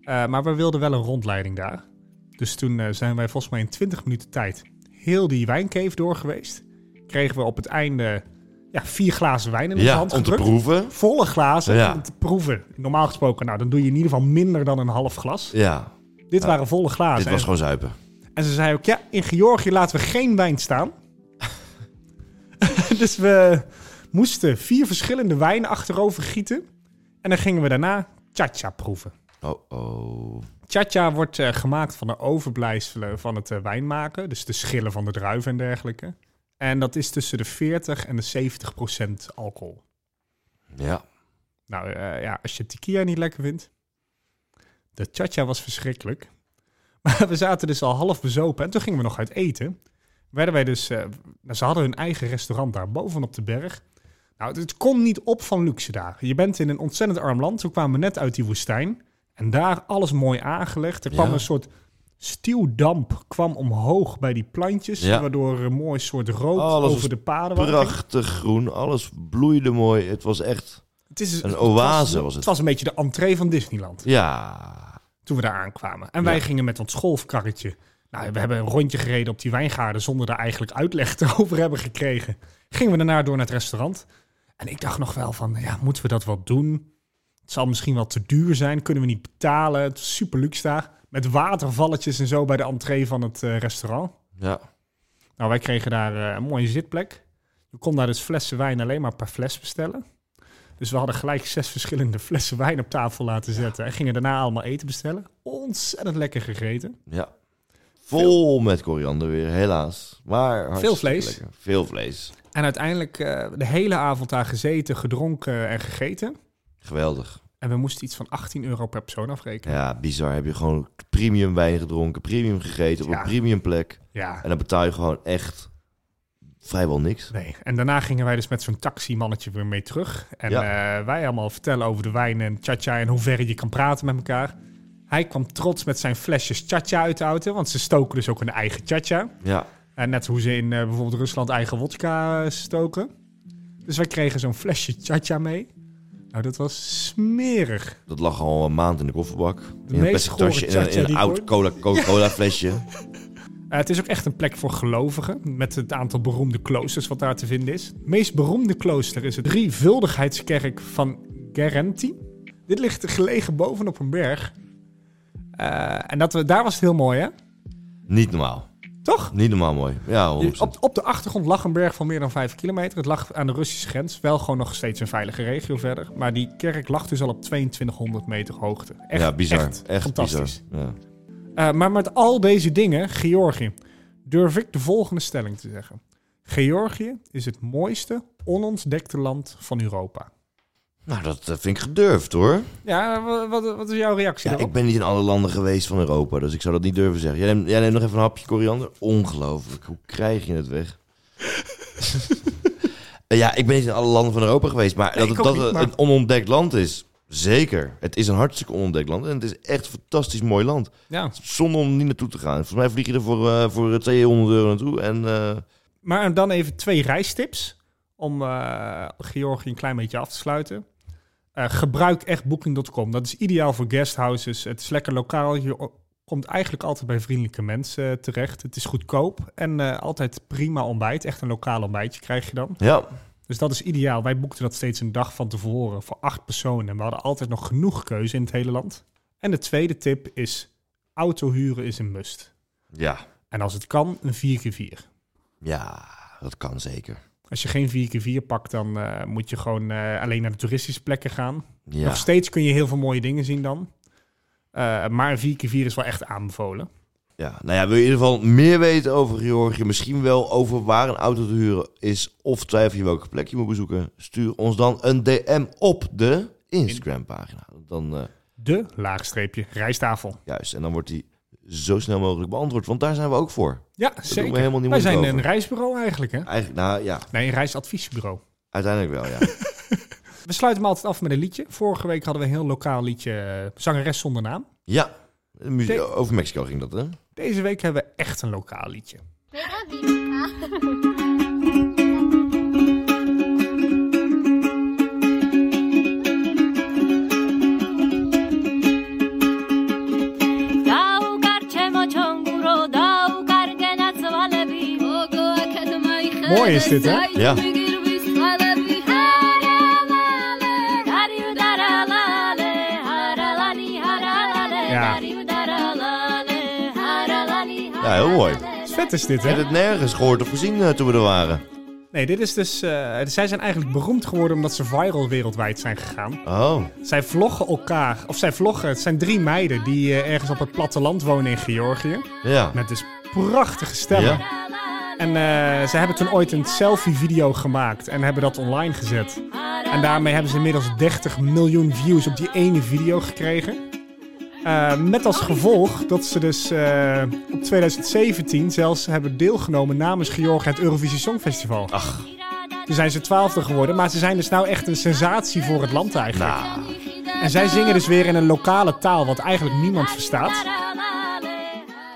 Eh, maar we wilden wel een rondleiding daar. Dus toen eh, zijn wij volgens mij in 20 minuten tijd heel die wijnkeef door geweest. Kregen we op het einde ja, vier glazen wijn in onze
Ja,
hand
om te
gedrukt.
proeven.
Volle glazen
Ja.
om te proeven. Normaal gesproken, nou, dan doe je in ieder geval minder dan een half glas.
Ja,
Dit
Ja.
waren volle glazen.
dit was
En-
gewoon zuipen.
en ze zei ook, ja, in Georgië laten we geen wijn staan. dus we moesten vier verschillende wijnen achterover gieten. En dan gingen we daarna cha-cha proeven.
Oh, oh.
Cha-cha wordt eh, gemaakt van de overblijfselen van het eh, wijnmaken. Dus de schillen van de druiven en dergelijke. En dat is tussen de 40 en de 70 procent alcohol.
Ja.
Nou eh, ja, als je tequila niet lekker vindt. De cha-cha was verschrikkelijk. Maar we zaten dus al half bezopen en toen gingen we nog uit eten. Werden wij dus, eh, nou, ze hadden hun eigen restaurant daar bovenop de berg. Nou, het, het kon niet op van luxe daar. Je bent in een ontzettend arm land. We kwamen net uit die woestijn. En daar alles mooi aangelegd. Er kwam
Ja.
een soort stuwdamp kwam omhoog bij die plantjes.
Ja.
Waardoor er een mooi soort rook
Alles was
over de paden was.
Prachtig groen, alles bloeide mooi. Het was echt...
Het is,
Een
het was
oase was het.
Het was een beetje de entree van Disneyland.
Ja,
toen we daar aankwamen. En wij
Ja.
gingen met ons golfkarretje. Nou, we hebben een rondje gereden op die wijngaarden zonder daar eigenlijk uitleg te over hebben gekregen. Gingen we daarna door naar het restaurant. En ik dacht nog wel van, ja, moeten we dat wel doen? Het zal misschien wel te duur zijn, kunnen we niet betalen. Het is super luxe daar. Met watervalletjes en zo bij de entree van het eh, restaurant.
ja.
Nou, wij kregen daar eh, een mooie zitplek. Je kon daar dus flessen wijn alleen maar per fles bestellen. Dus we hadden gelijk zes verschillende flessen wijn op tafel laten zetten. En gingen daarna allemaal eten bestellen. Ontzettend lekker gegeten.
Ja. Vol met koriander weer, helaas. Maar hartstikke
vlees.
lekker. Veel vlees.
En uiteindelijk eh, de hele avond daar gezeten, gedronken en gegeten.
Geweldig.
En we moesten iets van 18 euro per persoon afrekenen.
Ja, bizar. Heb je gewoon premium wijn gedronken, premium gegeten op
Ja.
een premium plek.
Ja.
En dan betaal je gewoon echt vrijwel niks.
Nee. En daarna gingen wij dus met zo'n taximannetje weer mee terug. En eh, wij allemaal vertellen over de wijn en cha-cha en hoe ver je kan praten met elkaar. Hij kwam trots met zijn flesjes cha-cha uit de auto, want ze stoken dus ook hun eigen cha-cha.
Ja.
En net hoe ze in eh, bijvoorbeeld Rusland eigen wodka eh, stoken. Dus wij kregen zo'n flesje cha-cha mee. Nou, dat was smerig.
Dat lag al een maand in de kofferbak. in een
meest
plastic
gore
tasje, in een, in
cha-cha
een
die ik
oud
ooit-
cola, Coca-Cola flesje.
Eh, het is ook echt een plek voor gelovigen, met het aantal beroemde kloosters wat daar te vinden is. Het meest beroemde klooster is het drievuldigheidskerk van Gerenti. Dit ligt gelegen bovenop een berg. Eh, en dat we, daar was het heel mooi, hè?
Niet normaal.
Toch?
Niet normaal mooi. Ja, 100%.
Op, op de achtergrond lag een berg van meer dan 5 kilometer. Het lag aan de Russische grens. Wel gewoon nog steeds een veilige regio verder. Maar die kerk lag dus al op 2200 meter hoogte. Echt,
ja, bizar.
Echt,
Echt,
fantastisch.
bizar. Ja.
Eh, maar met al deze dingen, Georgië, durf ik de volgende stelling te zeggen. Georgië is het mooiste onontdekte land van Europa.
Nou, dat eh, vind ik gedurfd hoor.
Ja, wa- wat, wat is jouw reactie
Ja,
daarop?
ik ben niet in alle landen geweest van Europa, dus ik zou dat niet durven zeggen. Jij neemt, jij neemt nog even een hapje koriander? Ongelooflijk, hoe krijg je het weg? ja, ik ben niet in alle landen van Europa geweest, maar
Nee,
dat,
ik
het-
ook
dat
niet,
het
maar-
een onontdekt land is, zeker. Het is een hartstikke onontdekt land en het is echt een fantastisch mooi land.
Ja.
Zonde om niet naartoe te gaan. Volgens mij vlieg je er voor, eh, voor 200 euro naartoe en... eh,
Maar dan even twee reistips om eh, Georgië een klein beetje af te sluiten. Eh, gebruik echt booking.com. Dat is ideaal voor guesthouses. Het is lekker lokaal. Je o- komt eigenlijk altijd bij vriendelijke mensen eh, terecht. Het is goedkoop en eh, altijd prima ontbijt. Echt een lokaal ontbijtje krijg je dan.
ja,
Dus dat is ideaal. Wij boekten dat steeds een dag van tevoren voor acht personen. En we hadden altijd nog genoeg keuze in het hele land. En de tweede tip is: auto huren is een must.
ja,
En als het kan, een 4x4.
ja, dat kan zeker.
Als je geen 4x4 pakt, dan eh, moet je gewoon eh, alleen naar de toeristische plekken gaan.
Ja,
Nog steeds kun je heel veel mooie dingen zien dan. Eh, maar een 4x4 is wel echt aanbevolen.
ja. Nou ja, wil je in ieder geval meer weten over Georgië? Misschien wel over waar een auto te huren is of twijfel je welke plek je moet bezoeken? Stuur ons dan een DM op de Instagram pagina. Dan, eh,
De laagstreepje rijstafel.
juist, en dan wordt die zo snel mogelijk beantwoord, want daar zijn we ook voor.
Ja,
doen we
zeker.
helemaal niet
Wij
moeilijk
zijn een
over.
reisbureau eigenlijk, hè?
Eigenlijk, nou ja,
Nee, een reisadviesbureau.
uiteindelijk wel, ja.
We sluiten hem altijd af met een liedje. Vorige week hadden we een heel lokaal liedje, eh, Zangeres zonder naam.
ja, de muzie- over Mexico ging dat, hè?
Deze week hebben we echt een lokaal liedje.
Gaukartxe motxon
Mooi is dit, hè?
Ja.
Ja.
Ja, heel mooi.
Vet is dit,
Ik heb
hè?
het nergens gehoord of gezien eh, toen we er waren.
Nee, dit is dus... eh, zij zijn eigenlijk beroemd geworden omdat ze viral wereldwijd zijn gegaan.
Oh,
Zij vloggen elkaar, of zij vloggen, het zijn drie meiden die eh, ergens op het platteland wonen in Georgië.
ja.
Met dus prachtige stemmen. En eh, ze hebben toen ooit een selfie-video gemaakt en hebben dat online gezet. En daarmee hebben ze inmiddels 30 miljoen views op die ene video gekregen. Eh, met als gevolg dat ze dus eh, op 2017 zelfs hebben deelgenomen namens Georgië aan het Eurovisie Songfestival.
Ach.
Toen zijn ze twaalfde geworden, maar ze zijn dus nou echt een sensatie voor het land eigenlijk.
Nou,
En zij zingen dus weer in een lokale taal wat eigenlijk niemand verstaat.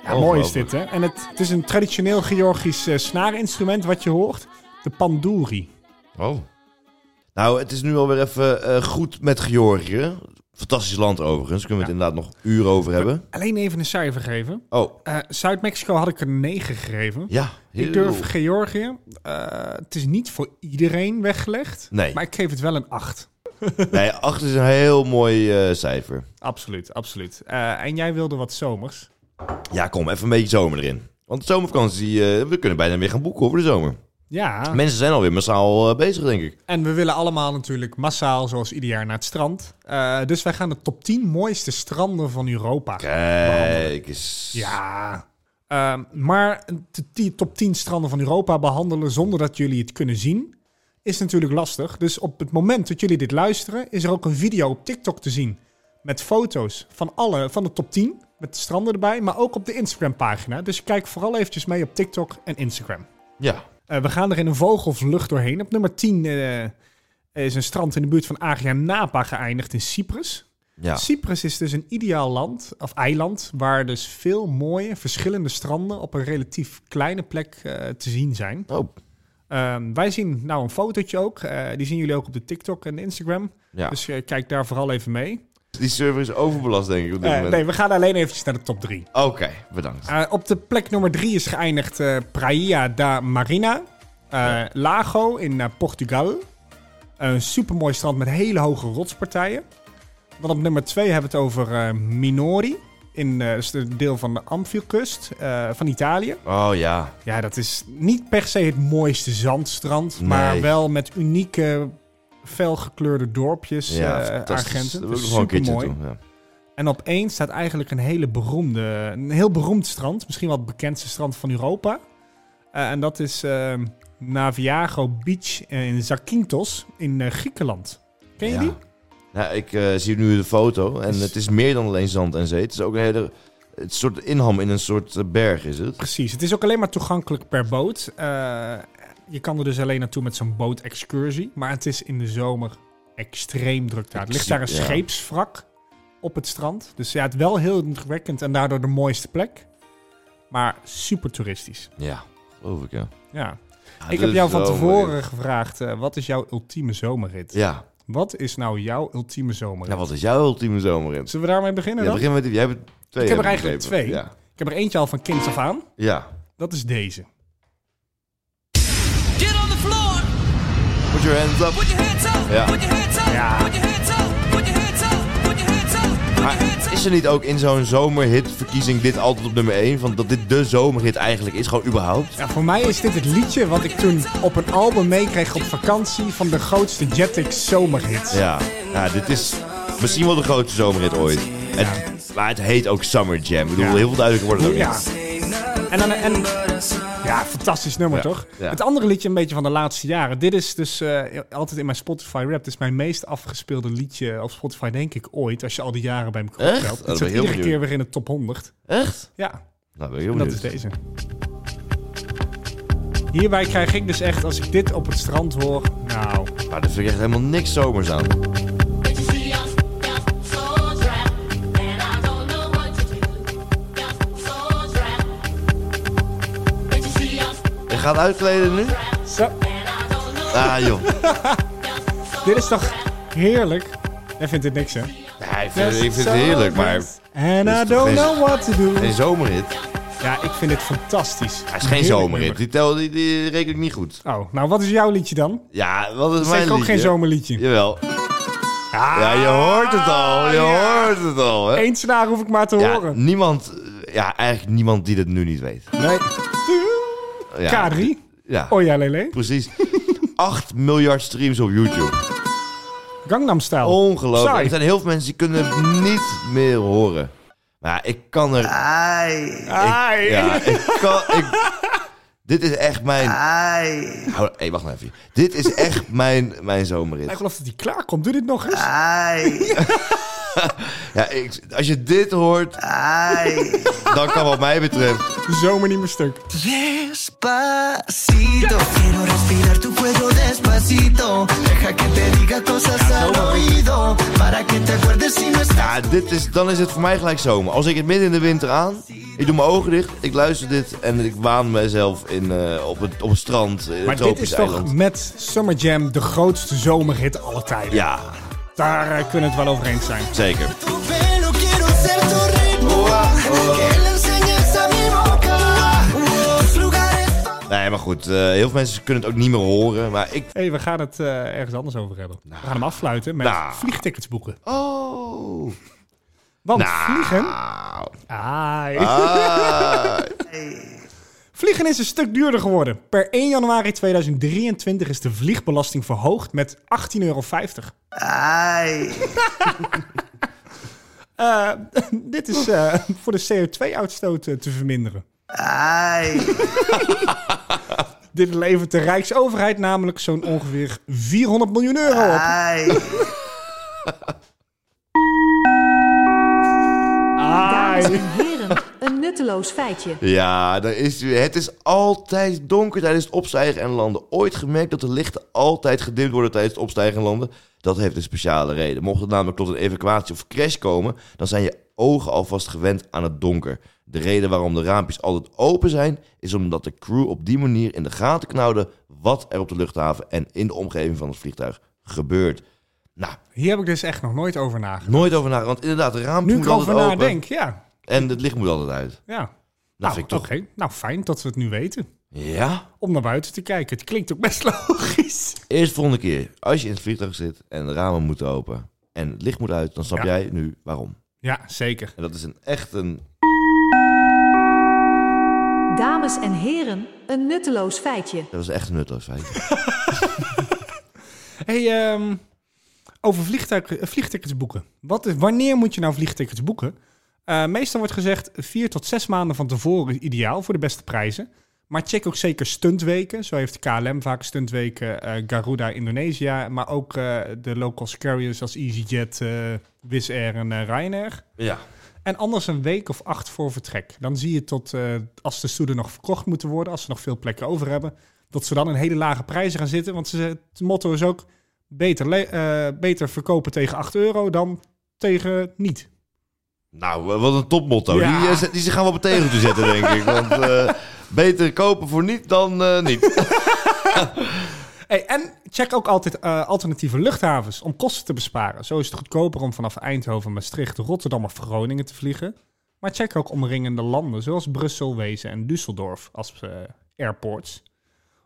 Ja, mooi is dit, hè? En het, het is een traditioneel Georgisch eh, snaarinstrument wat je hoort. De pandouri.
Oh. Nou, het is nu alweer even eh, goed met Georgië. Fantastisch land overigens. Kunnen we het inderdaad nog uren over hebben.
Alleen even een cijfer geven.
Oh,
Eh, Zuid-Mexico had ik een 9 gegeven.
ja. heel-
Ik durf Georgië. eh, het is niet voor iedereen weggelegd.
Nee.
Maar ik geef het wel een 8.
Nee, 8 is een heel mooi eh, cijfer.
Absoluut, absoluut. Eh, en jij wilde wat zomers.
Ja, kom, even een beetje zomer erin. Want de zomervakantie, eh, we kunnen bijna weer gaan boeken hoor, voor de zomer.
Ja.
Mensen zijn alweer massaal eh, bezig, denk ik.
En we willen allemaal natuurlijk massaal, zoals ieder jaar, naar het strand. Eh, dus wij gaan de top 10 mooiste stranden van Europa.
Kijk eens.
Ja. Ehm, maar de ti- top 10 stranden van Europa behandelen zonder dat jullie het kunnen zien, is natuurlijk lastig. Dus op het moment dat jullie dit luisteren, is er ook een video op TikTok te zien. Met foto's van alle, van de top 10, met de stranden erbij, maar ook op de Instagram-pagina. Dus kijk vooral eventjes mee op TikTok en Instagram.
Ja.
Eh, we gaan er in een vogelvlucht doorheen. Op nummer 10 eh, is een strand in de buurt van Agia Napa geëindigd in Cyprus.
Ja.
Cyprus is dus een ideaal land, of eiland, waar dus veel mooie verschillende stranden op een relatief kleine plek eh, te zien zijn.
Oh,
Ehm, wij zien nou een fotootje ook, eh, die zien jullie ook op de TikTok en de Instagram.
ja.
Dus eh, kijk daar vooral even mee.
Die server is overbelast, denk ik, op dit
Eh,
moment.
nee, we gaan alleen eventjes naar de top 3.
Oké, bedankt.
Eh, op de plek nummer 3 is geëindigd eh, Praia da Marina, eh, Lago in eh, Portugal. Een supermooi strand met hele hoge rotspartijen. Dan op nummer 2 hebben we het over eh, Minori. In eh, dat is een deel van de Amphielkust eh, van Italië.
Oh ja.
Ja, dat is niet per se het mooiste zandstrand.
Nee.
Maar wel met unieke, felgekleurde dorpjes,
Ja,
eh,
fantastisch.
agenten. Dat
Dat wil ik
is
nog wel een keertje
supermooi.
doen. Ja.
En op één staat eigenlijk een hele beroemde, een heel beroemd strand. Misschien wel het bekendste strand van Europa. Eh, en dat is ehm, Naviago Beach in Zakynthos in eh, Griekenland. Ken je
Ja.
die?
Ja, ik eh, zie nu de foto en het is meer dan alleen zand en zee. Het is ook een hele het soort inham in een soort eh, berg, is het?
Precies. Het is ook alleen maar toegankelijk per boot. Eh, je kan er dus alleen naartoe met zo'n bootexcursie. Maar het is in de zomer extreem druk daar. Er ligt daar een
Ja.
scheepswrak op het strand. Dus ja, het is wel heel indrukwekkend en daardoor de mooiste plek. Maar super toeristisch.
Ja, geloof ik, ja.
Ja.
Ja,
Ik
dat
heb jou
is
van
wel
tevoren
mooi.
gevraagd, eh, wat is jouw ultieme zomerrit?
Ja.
Wat is nou jouw ultieme zomerrit?
ja, wat is jouw ultieme zomerrit?
Zullen we daarmee beginnen
Ja,
dan?
begin met die. Jij hebt twee.
Ik heb er
heb
eigenlijk
begrepen.
twee.
Ja.
Ik heb er eentje al van kind af aan.
ja.
Dat is deze.
Put your hands up. Ja. Maar is er niet ook in zo'n zomerhitverkiezing dit altijd op nummer 1? Van dat dit de zomerhit eigenlijk is, gewoon überhaupt?
Ja, voor mij is dit het liedje wat ik toen op een album meekreeg op vakantie van de grootste Jetix zomerhits.
Ja. ja, dit is misschien wel de grootste zomerhit ooit. Het, maar het heet ook Summer Jam. Ik bedoel,
Ja.
heel veel duidelijker wordt het ook
Ja.
niet.
En dan, en, ja, fantastisch nummer
Ja,
toch?
ja.
Het andere liedje een beetje van de laatste jaren. Dit is dus eh, altijd in mijn Spotify rap. Dit is mijn meest afgespeelde liedje op Spotify denk ik ooit. Als je al die jaren bij me
Echt?
optelt.
Oh,
Het
dat
zit
ben ik heel
iedere keer
benieuwd.
weer in de top 100.
Echt?
Ja,
Nou, ben ik heel
en dat is
benieuwd.
deze. Hierbij krijg ik dus echt, als ik dit op het strand hoor, nou...
Maar daar vind ik echt helemaal niks zomers aan. Je gaat uitkleden nu?
Zo,
Ah joh.
dit is toch heerlijk? Jij vindt dit niks, hè?
Ja, ik, vind, ik vind het heerlijk, maar
And
Dit is
I
toch
don't
geen-
know what to do.
een zomerhit.
Ja, ik vind dit fantastisch.
Het is geen zomerrit. Die, tel, die, die reken ik niet goed.
Oh, nou wat is jouw liedje dan?
Ja, wat is
Dat is
mijn
zeker ook
liedje?
geen zomerliedje.
Jawel. Ja, je hoort het al. Je
Ah, ja.
hoort het al. Hè?
Eén snaar hoef ik maar te
Ja,
horen.
niemand... Ja, eigenlijk niemand die dit nu niet weet.
Nee.
Ja,
K3.
Ja,
Oh ja, Lele.
precies. 8 miljard streams op YouTube.
Gangnam Style.
Oh, Ongelooflijk.
Oh. Saai.
Er zijn heel veel mensen die kunnen het niet meer horen. Maar ja, ik kan er...
Ah, Ai.
Ja, ik kan... Ik, dit is echt mijn... Hou- hey, wacht nou even. Dit is echt mijn, mijn
Hij
zomerrit.
gelooft dat hij klaar komt. Doe dit nog eens.
Ah. Ja, ik, als je dit hoort... Dan kan wat mij betreft...
De zomer niet meer stuk.
Despacito, quiero respirar tu cuello despacito. Deja que te diga cosas al oído. Para que te acuerdes si no estás.
Ja, dit is, dan is het voor mij gelijk zomer. Als ik het midden in de winter aan... Ik doe mijn ogen dicht, ik luister dit... en ik waan mezelf in, eh, op, het, op het strand, in
Maar
het tropisch
dit is toch
eiland.
met Summer Jam de grootste zomerhit alle tijden.
Ja,
Daar eh, kunnen we het wel over eens zijn.
zeker.
Tu pelo, quiero ser tu ritmo. Que le enseñes a mi boca. Tus lugares.
Nee, maar goed, eh, heel veel mensen kunnen het ook niet meer horen. Maar ik.
Hé, hey, we gaan het eh, ergens anders over hebben. We gaan hem affluiten met
Nou.
vliegtickets boeken.
Oh.
Want
Nou.
vliegen... Ai.
Ah.
Vliegen is een stuk duurder geworden. Per 1 januari 2023 is de vliegbelasting verhoogd met 18,50 euro. Eh, dit is eh, voor de CO2-uitstoot eh, te verminderen. Dit levert de Rijksoverheid namelijk zo'n ongeveer 400 miljoen euro op.
Dames
Ai.
en heren, een nutteloos feitje.
Ja, daar is u. Het is altijd donker tijdens het opstijgen en landen. Ooit gemerkt dat de lichten altijd gedimd worden tijdens het opstijgen en landen? Dat heeft een speciale reden. Mocht het namelijk tot een evacuatie of crash komen, dan zijn je ogen alvast gewend aan het donker. De reden waarom de raampjes altijd open zijn, is omdat de crew op die manier in de gaten knauwde wat er op de luchthaven en in de omgeving van het vliegtuig gebeurt. Nou,
Hier heb ik dus echt nog nooit over nagedacht.
nooit over nagedacht. Want inderdaad, de raampjes
Nu ik
moeten
erover
altijd open.
nadenk, ja.
En het licht moet altijd uit. Dat
ja.
vind
Nou,
ik toch...
oké. nou, fijn dat we het nu weten.
Ja?
Om naar buiten te kijken. Het klinkt ook best logisch.
Eerst volgende keer. Als je in het vliegtuig zit en de ramen moeten open en het licht moet uit, dan snap
Ja.
jij nu waarom.
Ja, zeker.
En dat is een echt een...
Dames en heren, een nutteloos feitje.
Dat is echt een nutteloos feit.
Hey, ehm, over vliegtuig, eh, vliegtickets boeken. Wat is, wanneer moet je nou vliegtickets boeken? Eh, meestal wordt gezegd vier tot zes maanden van tevoren is ideaal voor de beste prijzen. Maar check ook zeker stuntweken. Zo heeft KLM vaak stuntweken, eh Garuda Indonesië, maar ook eh, de low-cost carriers als EasyJet, eh Wizz Air en eh, Ryanair.
Ja.
En anders een week of acht voor vertrek. Dan zie je tot eh, als de stoelen nog verkocht moeten worden, als ze nog veel plekken over hebben, dat ze dan in hele lage prijzen gaan zitten. Want ze, het motto is ook beter, le- eh, beter verkopen tegen 8 euro dan tegen niet.
Nou, eh, wat een topmotto.
Ja.
Die, eh, zet- die ze gaan we op het tegeltje zetten, denk ik. Want eh, beter kopen voor niet dan eh, niet.
Hey, en check ook altijd eh, alternatieve luchthavens om kosten te besparen. Zo is het goedkoper om vanaf Eindhoven, Maastricht, Rotterdam of Groningen te vliegen. Maar check ook omringende landen zoals Brussel, Wezen en Düsseldorf als eh, airports.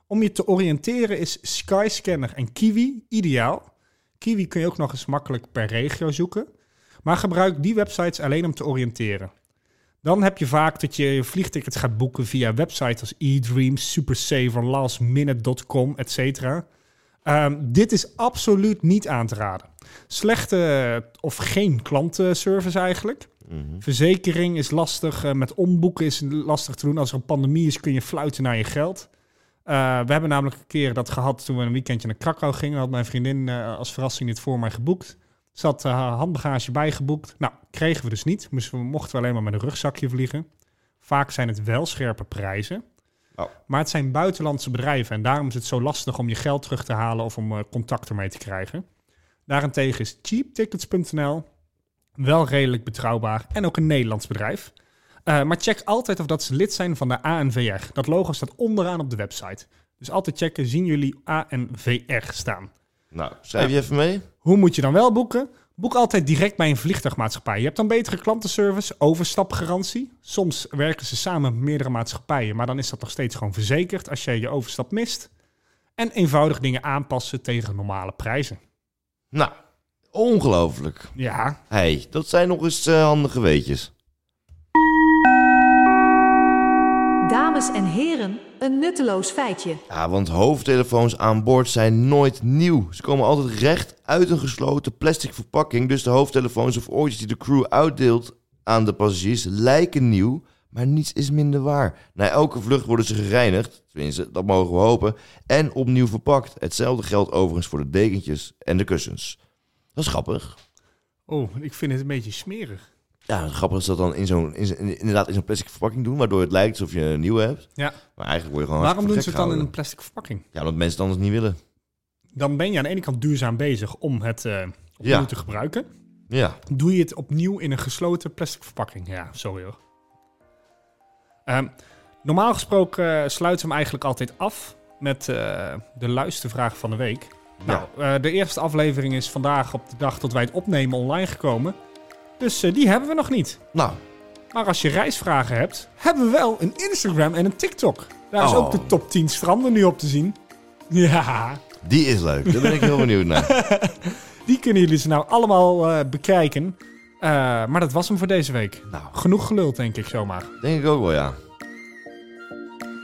Om je te oriënteren is Skyscanner en Kiwi ideaal. Kiwi kun je ook nog eens makkelijk per regio zoeken. Maar gebruik die websites alleen om te oriënteren. Dan heb je vaak dat je je vliegtickets gaat boeken via websites als eDreams, Supersaver, lastminute.com, et cetera. Ehm, dit is absoluut niet aan te raden. Slechte eh, of geen klantenservice eigenlijk. Verzekering is lastig. eh, met omboeken is lastig te doen. Als er een pandemie is, kun je fluiten naar je geld. Eh, we hebben namelijk een keer dat gehad toen we een weekendje naar Krakau gingen. Had mijn vriendin eh, als verrassing dit voor mij geboekt. Ze had eh, haar handbagage bijgeboekt. Nou, kregen we dus niet. Moesten we, mochten we alleen maar met een rugzakje vliegen. Vaak zijn het wel scherpe prijzen.
Oh.
Maar het zijn buitenlandse bedrijven. En daarom is het zo lastig om je geld terug te halen of om eh, contact ermee te krijgen. Daarentegen is cheaptickets.nl wel redelijk betrouwbaar en ook een Nederlands bedrijf. Eh, maar check altijd of dat ze lid zijn van de ANVR. Dat logo staat onderaan op de website. Dus altijd checken, zien jullie ANVR staan.
Nou, schrijf je even mee.
Hoe moet je dan wel boeken? Boek altijd direct bij een vliegtuigmaatschappij. Je hebt dan betere klantenservice, overstapgarantie. Soms werken ze samen met meerdere maatschappijen, maar dan is dat nog steeds gewoon verzekerd als jij je overstap mist. En eenvoudig dingen aanpassen tegen normale prijzen.
Nou, ongelooflijk.
Ja.
Hé, hey, dat zijn nog eens eh, handige weetjes.
Dames en heren, een nutteloos feitje.
Ja, want hoofdtelefoons aan boord zijn nooit nieuw. Ze komen altijd recht uit een gesloten plastic verpakking. Dus de hoofdtelefoons of oortjes die de crew uitdeelt aan de passagiers lijken nieuw, maar niets is minder waar. Na elke vlucht worden ze gereinigd, tenminste, dat mogen we hopen, en opnieuw verpakt. Hetzelfde geldt overigens voor de dekentjes en de kussens. Dat is grappig.
Oh, ik vind het een beetje smerig.
Ja, grappig is dat dan in zo'n, in, zo'n- inderdaad in zo'n plastic verpakking doen, waardoor het lijkt alsof je een nieuwe hebt.
Ja.
Maar eigenlijk word je gewoon
Waarom doen ze
hartstikke
het dan in
gek
een plastic verpakking?
gehouden. Ja, omdat mensen het anders niet willen.
Dan ben je aan de ene kant duurzaam bezig om het eh, opnieuw
Ja.
te gebruiken.
Ja.
Doe je het opnieuw in een gesloten plastic verpakking? Ja, sorry hoor. Ehm, normaal gesproken eh, sluiten we hem eigenlijk altijd af met eh, de luistervraag van de week. Nou, eh, de eerste aflevering is vandaag op de dag dat wij het opnemen online gekomen. Dus eh, die hebben we nog niet.
Nou.
Maar als je reisvragen hebt, hebben we wel een Instagram en een TikTok. Daar is
Oh.
ook de top 10 stranden nu op te zien. Ja.
Die is leuk. Daar ben ik heel benieuwd naar.
Die kunnen jullie ze nou allemaal eh, bekijken. Eh, maar dat was hem voor deze week. Genoeg geluld, denk ik zomaar.
Denk ik ook wel, ja.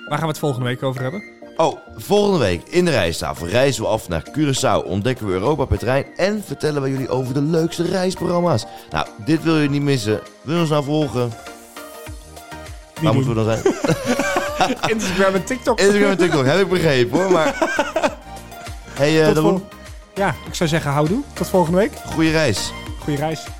Waar gaan we het volgende week over hebben?
Oh, volgende week in de reistafel reizen we af naar Curaçao, ontdekken we Europa per trein en vertellen we jullie over de leukste reisprogramma's. Nou, dit wil je niet missen. Wil je ons nou volgen? Waar moeten we dan zijn?
Instagram en TikTok.
Instagram en TikTok, heb ik begrepen hoor, maar... eh, Hey, eh
Tot
Jeroen,
vol- Ja, ik zou zeggen houdoe. Tot volgende week.
goede reis.
Goeie reis.